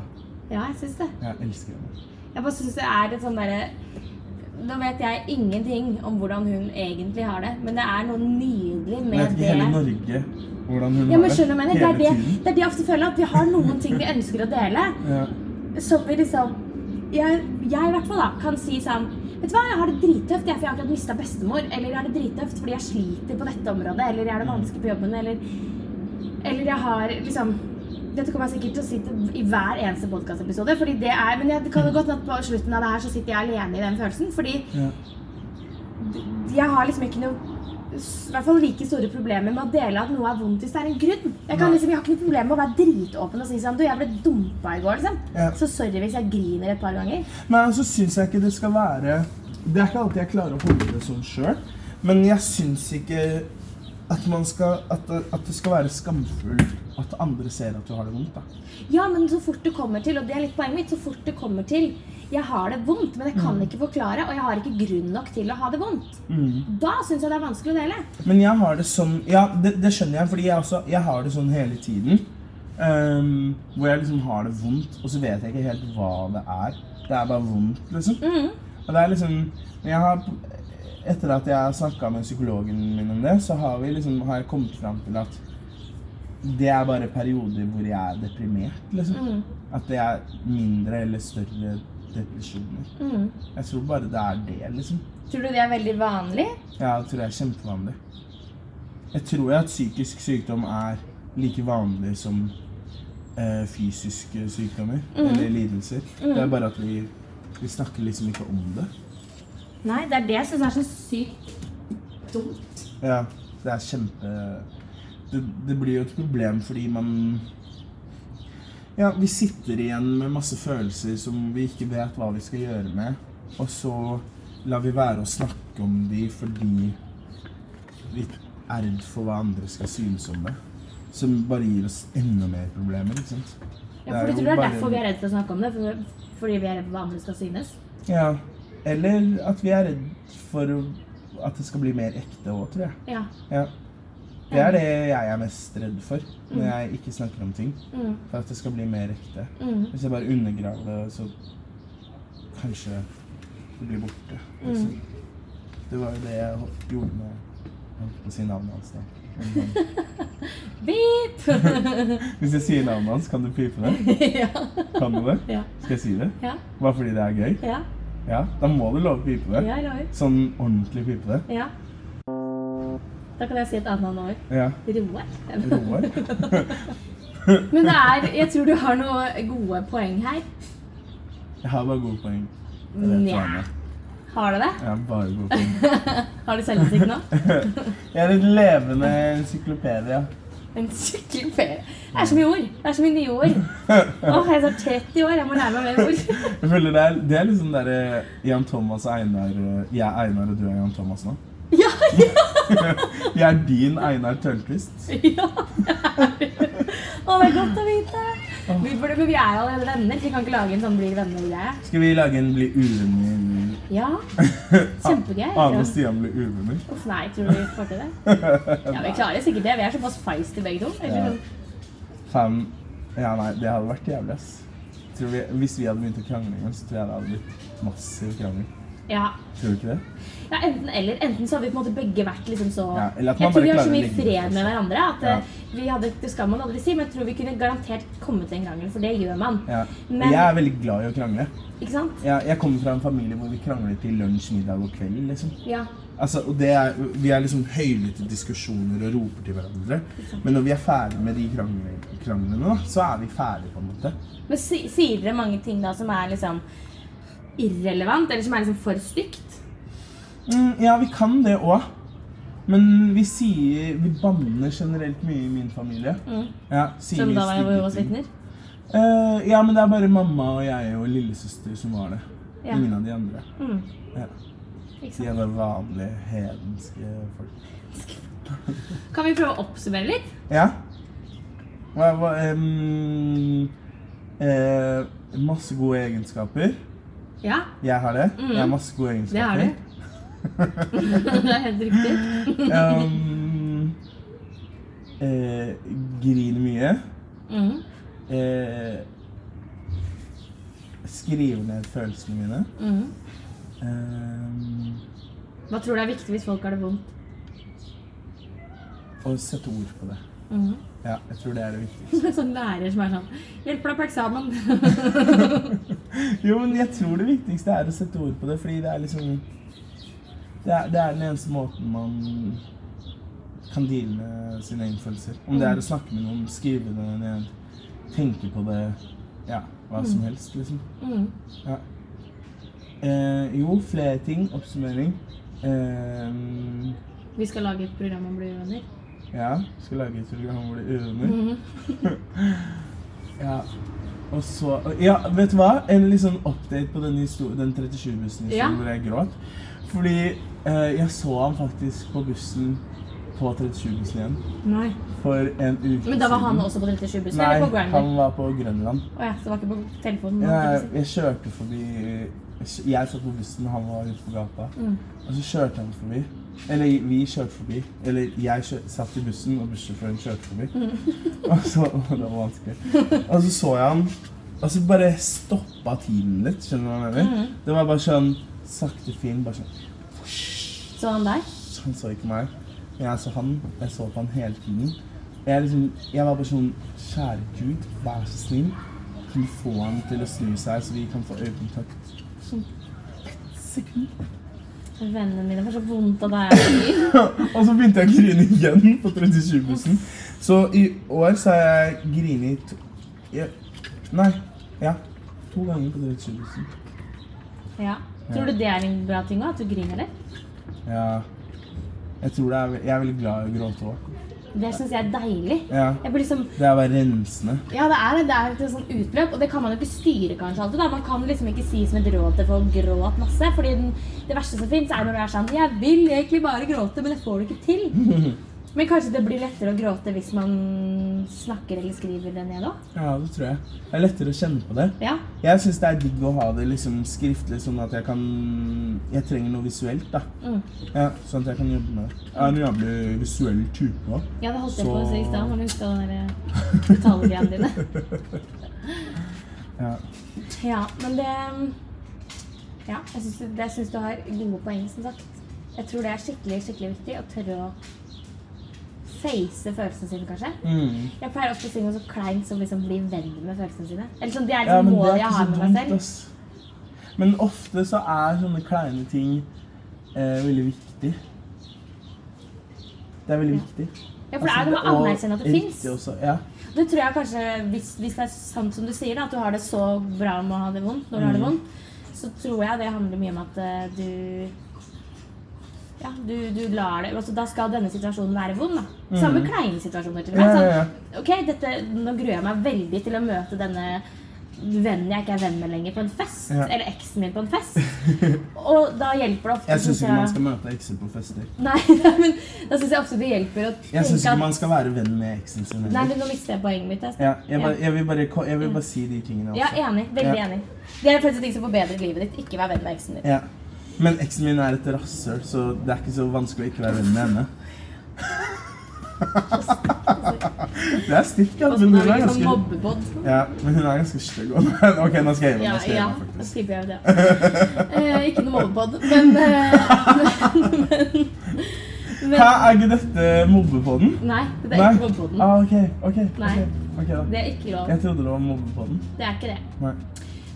S4: Ja, jeg syns det.
S5: Jeg elsker henne.
S4: Jeg bare syns det er et sånn derre Nå vet jeg ingenting om hvordan hun egentlig har det, men det er noe nydelig
S5: Jeg vet
S4: med
S5: ikke
S4: det.
S5: hele Norge hvordan hun
S4: Ja,
S5: har
S4: men skjønner du hva jeg mener? Det er
S5: hele
S4: det,
S5: tiden.
S4: det er det jeg ofte føler, at vi har noen ting vi ønsker å dele.
S5: Ja.
S4: som vi liksom jeg, jeg i hvert fall da, kan si sånn Vet du hva, jeg har det drittøft, jeg, for jeg har akkurat mista bestemor. Eller jeg har det drittøft fordi jeg sliter på dette området. Eller jeg har det vanskelig på jobben. Eller, eller jeg har liksom Dette kommer jeg sikkert til å si til i hver eneste podkastepisode. Men jeg, det kan jo godt hende at på slutten av det her så sitter jeg alene i den følelsen. Fordi
S5: Ja.
S4: jeg har liksom ikke noe i hvert fall like store problemer med å dele at noe er vondt hvis det er en grunn. Jeg, kan
S5: Nei.
S4: liksom, jeg har ikke noe problem med å være dritåpen og si sånn Du, jeg ble dumpa i går, liksom.
S5: Ja.
S4: Så sorry hvis jeg griner et par ganger.
S5: Men så syns jeg ikke det skal være Det er ikke alltid jeg klarer å holde det sånn sjøl. Men jeg syns ikke at, man skal, at, det- at det skal være skamfullt at andre ser at du har det vondt. da.
S4: Ja, men så fort det kommer til, og det er litt poenget mitt, så fort det kommer til Jeg har det vondt, men jeg kan ikke forklare, og jeg har ikke grunn nok til å ha det vondt. Da syns jeg det er vanskelig å dele.
S5: Men jeg har det sånn Ja, det, det skjønner jeg, fordi jeg, også, jeg har det sånn hele tiden. Ehm, hvor jeg liksom har det vondt, og så vet jeg ikke helt hva det er. Det er bare vondt, liksom. Og det er liksom men jeg har, Etter at jeg har snakka med psykologen min om det, så har, vi liksom, har jeg kommet fram til at det er bare perioder hvor jeg er deprimert, liksom. At det er mindre eller større depresjoner. Jeg tror bare det er det, liksom.
S4: Tror du det er veldig vanlig?
S5: Ja, jeg tror det er kjempevanlig. Jeg tror jo at psykisk sykdom er like vanlig som eh, fysiske sykdommer eller lidelser. Det er bare at vi, vi snakker liksom ikke om det.
S4: Nei, det er det jeg syns er så sykt dumt.
S5: Ja, det er kjempe... Det, det blir jo et problem fordi man... Ja, vi sitter igjen med masse følelser som vi ikke vet hva vi skal gjøre med. Og så lar vi være å snakke om de fordi vi er redd for hva andre skal synes om det. Som bare gir oss enda mer problemer, ikke sant?
S4: Ja, for du tror det er derfor vi er redd for å snakke om det? For, fordi vi er redd for hva andre skal synes?
S5: Ja, eller at vi er redd for at det skal bli mer ekte også, tror jeg.
S4: Ja.
S5: Ja. Det
S4: Mm.
S5: er det jeg er mest redd for når jeg ikke snakker om ting.
S4: Mm.
S5: For at det skal bli mer ekte. Hvis jeg bare undergraver det, så kanskje det blir borte. Liksom.
S4: Mm.
S5: Det var jo det jeg hol- gjorde med jeg holdt på å si navnet hans. da.
S4: Beep!
S5: Hvis jeg sier navnet hans, kan du pipe det?
S4: ja.
S5: Kan du det?
S4: Ja.
S5: Skal jeg si det?
S4: Ja.
S5: Bare fordi det er gøy?
S4: Ja.
S5: Ja, Da må du love å pipe det.
S4: Ja, jeg lover.
S5: Sånn ordentlig pipe det.
S4: Ja. Da kan jeg si et annet ord.
S5: Ja.
S4: Roar.
S5: Roar?
S4: Men det er, jeg tror du har noen gode poeng her.
S5: Jeg har bare gode poeng. Jeg vet hva han
S4: Nja.
S5: er.
S4: Har du det?
S5: Jeg har bare gode poeng.
S4: Har du selvinnsikt nå?
S5: Jeg er et levende encyklopedie.
S4: En sykkelferie. Det er så mye ord. Det er så mye nye ord. Åh, jeg er snart 30 år. Jeg må lære meg mer ord.
S5: Jeg føler det er, det er liksom der eh, Jan Thomas og Einar eh, Jeg er Einar, og du er Jan Thomas nå.
S4: Ja, ja,
S5: Jeg er din Einar Tørnquist.
S4: ja. det er det. Åh, det er godt å vite. Vi, burde, men vi er jo allerede venner. så Vi kan ikke lage en sånn blir venner-greie.
S5: Skal vi lage en Bli uvenner?
S4: Ja. Kjempegøy.
S5: Ane
S4: Ja.
S5: og Stian blir uvenner.
S4: Uff, nei, tror du vi får til det? Ja, vi klarer sikkert det. Vi er såpass feisty begge to. Eller
S5: Ja.
S4: sånn.
S5: Faen. Ja, nei, det hadde vært jævlig, ass. Tror vi, hvis vi hadde begynt å krangle engang, så tror jeg det hadde blitt massiv krangel.
S4: Ja.
S5: Tror du ikke det?
S4: ja, enten eller. Enten så har vi på en måte begge vært liksom så
S5: Ja, eller at man
S4: Jeg tror
S5: bare
S4: vi har så
S5: klarer å
S4: mye
S5: legge det fra
S4: fred med
S5: seg.
S4: hverandre at
S5: Ja.
S4: eh, vi hadde Det skal man aldri si, men jeg tror vi kunne garantert kommet til en krangel, for det gjør man.
S5: Ja. Og
S4: Men
S5: jeg er veldig glad i å krangle.
S4: Ikke sant?
S5: Jeg, jeg kommer fra en familie hvor vi krangler til lunsj, middag og kveld. liksom.
S4: Ja.
S5: Altså, og det er, Vi er liksom høylytte diskusjoner og roper til hverandre. Men når vi er ferdig med de krangle, kranglene, da, så er vi ferdig på en måte.
S4: Men si, sier dere mange ting da som er liksom irrelevant, eller som er liksom for stygt?
S5: Mm, ja, vi kan det òg. Men vi sier Vi banner generelt mye i min familie. Ja, sier
S4: Mm. Som da var jeg
S5: stygge
S4: Jehovas
S5: ting.
S4: vitner?
S5: Eh, ja, men det er bare mamma og jeg og lillesøster som var det.
S4: Ja. Mm.
S5: Ingen av de andre. Ja.
S4: Ikke
S5: De
S4: sant?
S5: er bare vanlige hedenske folk.
S4: Kan vi prøve å oppsummere litt?
S5: Ja. Hva, hva, em, eh, masse gode egenskaper.
S4: Ja,
S5: Jeg har det. Jeg har masse gode
S4: Mm. det har
S5: egenskaper.
S4: du. det er helt riktig. Mm.
S5: Em, eh, griner mye.
S4: Mhm.
S5: Eh, skriver ned følelsene mine.
S4: Mhm.
S5: Em,
S4: Hva tror du er viktig hvis folk har det vondt?
S5: og sette ord på det.
S4: Mhm.
S5: Ja, jeg tror det er det viktigste.
S4: sånn lærer som er sånn Hjelper deg på eksamen.
S5: Jo, men jeg tror det viktigste er å sette ord på det, fordi det er liksom Det er, det er den eneste måten man kan deale med sine egne følelser. Om det er å snakke med noen, skrive det ned, tenke på det Ja, hva som helst, liksom.
S4: Mhm.
S5: Ja. Eh, jo, flere ting. Oppsummering. Eh,
S4: Vi skal lage et program om å bli uvenner.
S5: ja, skal lage et program hvor det øver.
S4: Mhm.
S5: ja. Og så Ja, vet du hva? En litt sånn update på den, histo- den 37-bussen
S4: Ja.
S5: hvor jeg gråt. Fordi eh, jeg så han faktisk på bussen på 37-bussen igjen
S4: Nei.
S5: for en uke siden.
S4: Men da var han også på 37-bussen?
S5: Nei,
S4: Eller på Grindr?
S5: han var på Grønland.
S4: Å ja, så det var ikke på telefonen?
S5: Jeg,
S4: holdt jeg på å si.
S5: jeg kjørte forbi Jeg satt på bussen, han var ute på gata. Og så kjørte han forbi. Eller vi kjørte forbi. Eller jeg kjør, satt i bussen, og bussjåføren kjørte forbi. og så, å, det var vanskelig. Og så så jeg han, og så bare stoppa tiden litt. Skjønner du hva jeg mener? Det var bare sånn sakte, fin. bare sånn,
S4: Så han der?
S5: Han så ikke meg, men jeg så han. Jeg så på han hele tiden. Jeg, liksom, jeg var bare sånn Kjære Gud, vær så snill. Kan du få han til å snu seg, så vi kan få øyekontakt? Sånn
S4: Vennene mine får så vondt av deg.
S5: Og så begynte jeg å grine igjen på 37-bussen. Så i år så har jeg grinet to- jeg- Nei. Ja. To ganger på 37-bussen.
S4: Ja. Tror du det er en bra ting òg? At du griner litt?
S5: Ja. Jeg tror det er, ve- jeg er veldig glad i å gråte òg.
S4: Det syns jeg er deilig.
S5: Ja.
S4: Jeg blir liksom,
S5: Det er bare rensende.
S4: ja, det er det. Det er et sånn utløp, og det kan man jo ikke styre kanskje alltid. da. Man kan liksom ikke si som et råd til folk gråt masse. fordi den, det verste som fins, er når du er sånn Jeg vil egentlig bare gråte, men det får du ikke til. Men kanskje det blir lettere å gråte hvis man snakker eller skriver det ned òg?
S5: Ja, det tror jeg. Det er lettere å kjenne på det.
S4: Ja.
S5: Jeg syns det er digg å ha det liksom skriftlig, sånn at jeg kan Jeg trenger noe visuelt, da.
S4: Mm.
S5: Ja, sånn at jeg kan jobbe med det. Jeg er en jævlig visuell type òg.
S4: ja, det holdt jeg på å
S5: Så-
S4: si i stad, når du huska den der detaljen dine.
S5: Ja.
S4: Ja, men det Ja, jeg syns, du- jeg syns du har gode poeng, som sagt. Jeg tror det er skikkelig skikkelig viktig å tørre å face følelsene sine, kanskje.
S5: Mm.
S4: Jeg pleier ofte å si noe så kleint som liksom bli venn med følelsene sine. Eller sånn, Det er
S5: ja,
S4: liksom målet jeg har med meg selv.
S5: ass. Men ofte så er sånne kleine ting eh, veldig viktig. Det er veldig viktig.
S4: Ja, for det er
S5: Altså,
S4: noe med å
S5: og
S4: anerkjenne at det
S5: riktig
S4: finnes.
S5: også, Ja.
S4: Det tror jeg kanskje, hvis, hvis det er sant som du sier, da, at du har det så bra med å ha det vondt når du har
S5: Mm.
S4: det vondt, så tror jeg det handler mye om at eh, du ja, du, du lar det altså, Da skal denne situasjonen være vond. da. Samme kleine situasjoner. til og med.
S5: Mm. Ja, ja, ja.
S4: Sånn, ok, dette, Nå gruer jeg meg veldig til å møte denne vennen jeg ikke er venn med lenger, på en fest.
S5: Ja.
S4: Eller eksen min på en fest. Og da hjelper det ofte
S5: Jeg syns
S4: synes
S5: ikke man skal møte ekser på fester.
S4: Nei, men da syns jeg ofte det hjelper å
S5: Jeg syns
S4: tenke
S5: ikke
S4: at
S5: man skal være venn med eksen sin
S4: Nei,
S5: heller.
S4: men nå mister jeg poenget mitt. Jeg,
S5: Ja, jeg, bare, jeg, vil bare, ko- jeg vil bare si de tingene også.
S4: Ja, enig. Veldig
S5: Ja.
S4: enig. Det er faktisk ting som forbedrer livet ditt. Ikke vær venn med eksen din.
S5: Ja. Men eksen min er et rasshøl, så det er ikke så vanskelig å ikke være venn med henne. Det er stygt, ja.
S4: Og
S5: Men
S4: sånn
S5: hun
S4: er
S5: er
S4: det liksom
S5: ganske,
S4: mobbebod.
S5: ja, men hun er ganske stygg. også. Ok, nå skal jeg gjøre
S4: Ja,
S5: det. Nå skal jeg
S4: ja.
S5: gjøre det,
S4: Da
S5: faktisk.
S4: slipper jeg det. Eh, ikke noe mobbebod, men, eh, men, men,
S5: Hæ,
S4: men
S5: er ikke dette mobbepodden?
S4: Nei, det er ikke mobbeboden.
S5: Ah, ok, ok. ok.
S4: Nei.
S5: Ok, da.
S4: Det er ikke lov.
S5: Jeg trodde det var mobbepodden.
S4: Det er ikke det.
S5: Nei.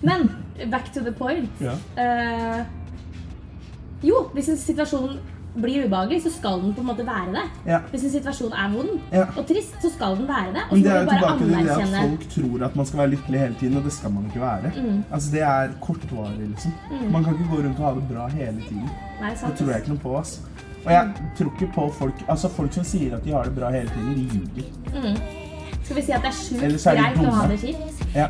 S4: Men back to the point.
S5: Ja.
S4: Eh, jo, hvis en situasjon blir ubehagelig, så skal den på en måte være det.
S5: Ja.
S4: Hvis en situasjon er vond
S5: Ja.
S4: og trist, så skal den være det. Og
S5: Men
S4: så
S5: det
S4: må
S5: er
S4: vi
S5: jo
S4: bare
S5: tilbake til det at
S4: anerkjenne
S5: folk tror at man skal være lykkelig hele tiden, og det skal man ikke være.
S4: Mm.
S5: Altså, det er kortvarig, liksom. Man kan ikke gå rundt og ha det bra hele tiden.
S4: Nei,
S5: Det
S4: sant.
S5: tror jeg ikke noe på, ass. Og jeg tror ikke på folk Altså, folk som sier at de har det bra hele tiden, de ljuger.
S4: Skal vi si at det er sjukt
S5: Ellers er de
S4: greit å ha
S5: dumme.
S4: det kjipt?
S5: Ja.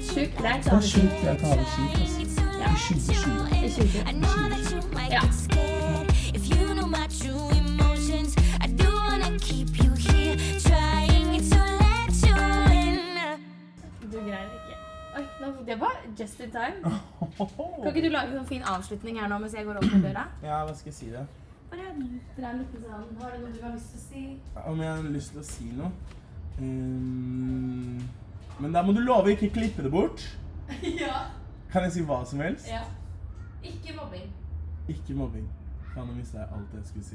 S4: Sjukt greit å
S5: Det
S4: ha
S5: er
S4: det
S5: sjukt
S4: kjipt.
S5: greit å ha det kjipt, ass.
S4: Ja.
S5: Det skylder sjukt.
S4: Det er sjukt.
S8: Yeah. If you know my true emotions, I do wanna keep you here, trying to let you in.
S4: Du greier ikke. Oi, nå- det var just in time. Kan ikke du lage en sånn fin avslutning her nå mens jeg går over til døra?
S5: Ja, hva skal jeg si det?
S4: Bare dra en liten sånn Har du noe du har lyst til å si?
S5: Om jeg har lyst til å si noe? Ehm, men da må du love å ikke klippe det bort.
S4: Ja.
S5: Kan jeg si hva som helst?
S4: ja. Ikke mobbing.
S5: Ikke mobbing. Faen, nå mista jeg alt jeg skulle si.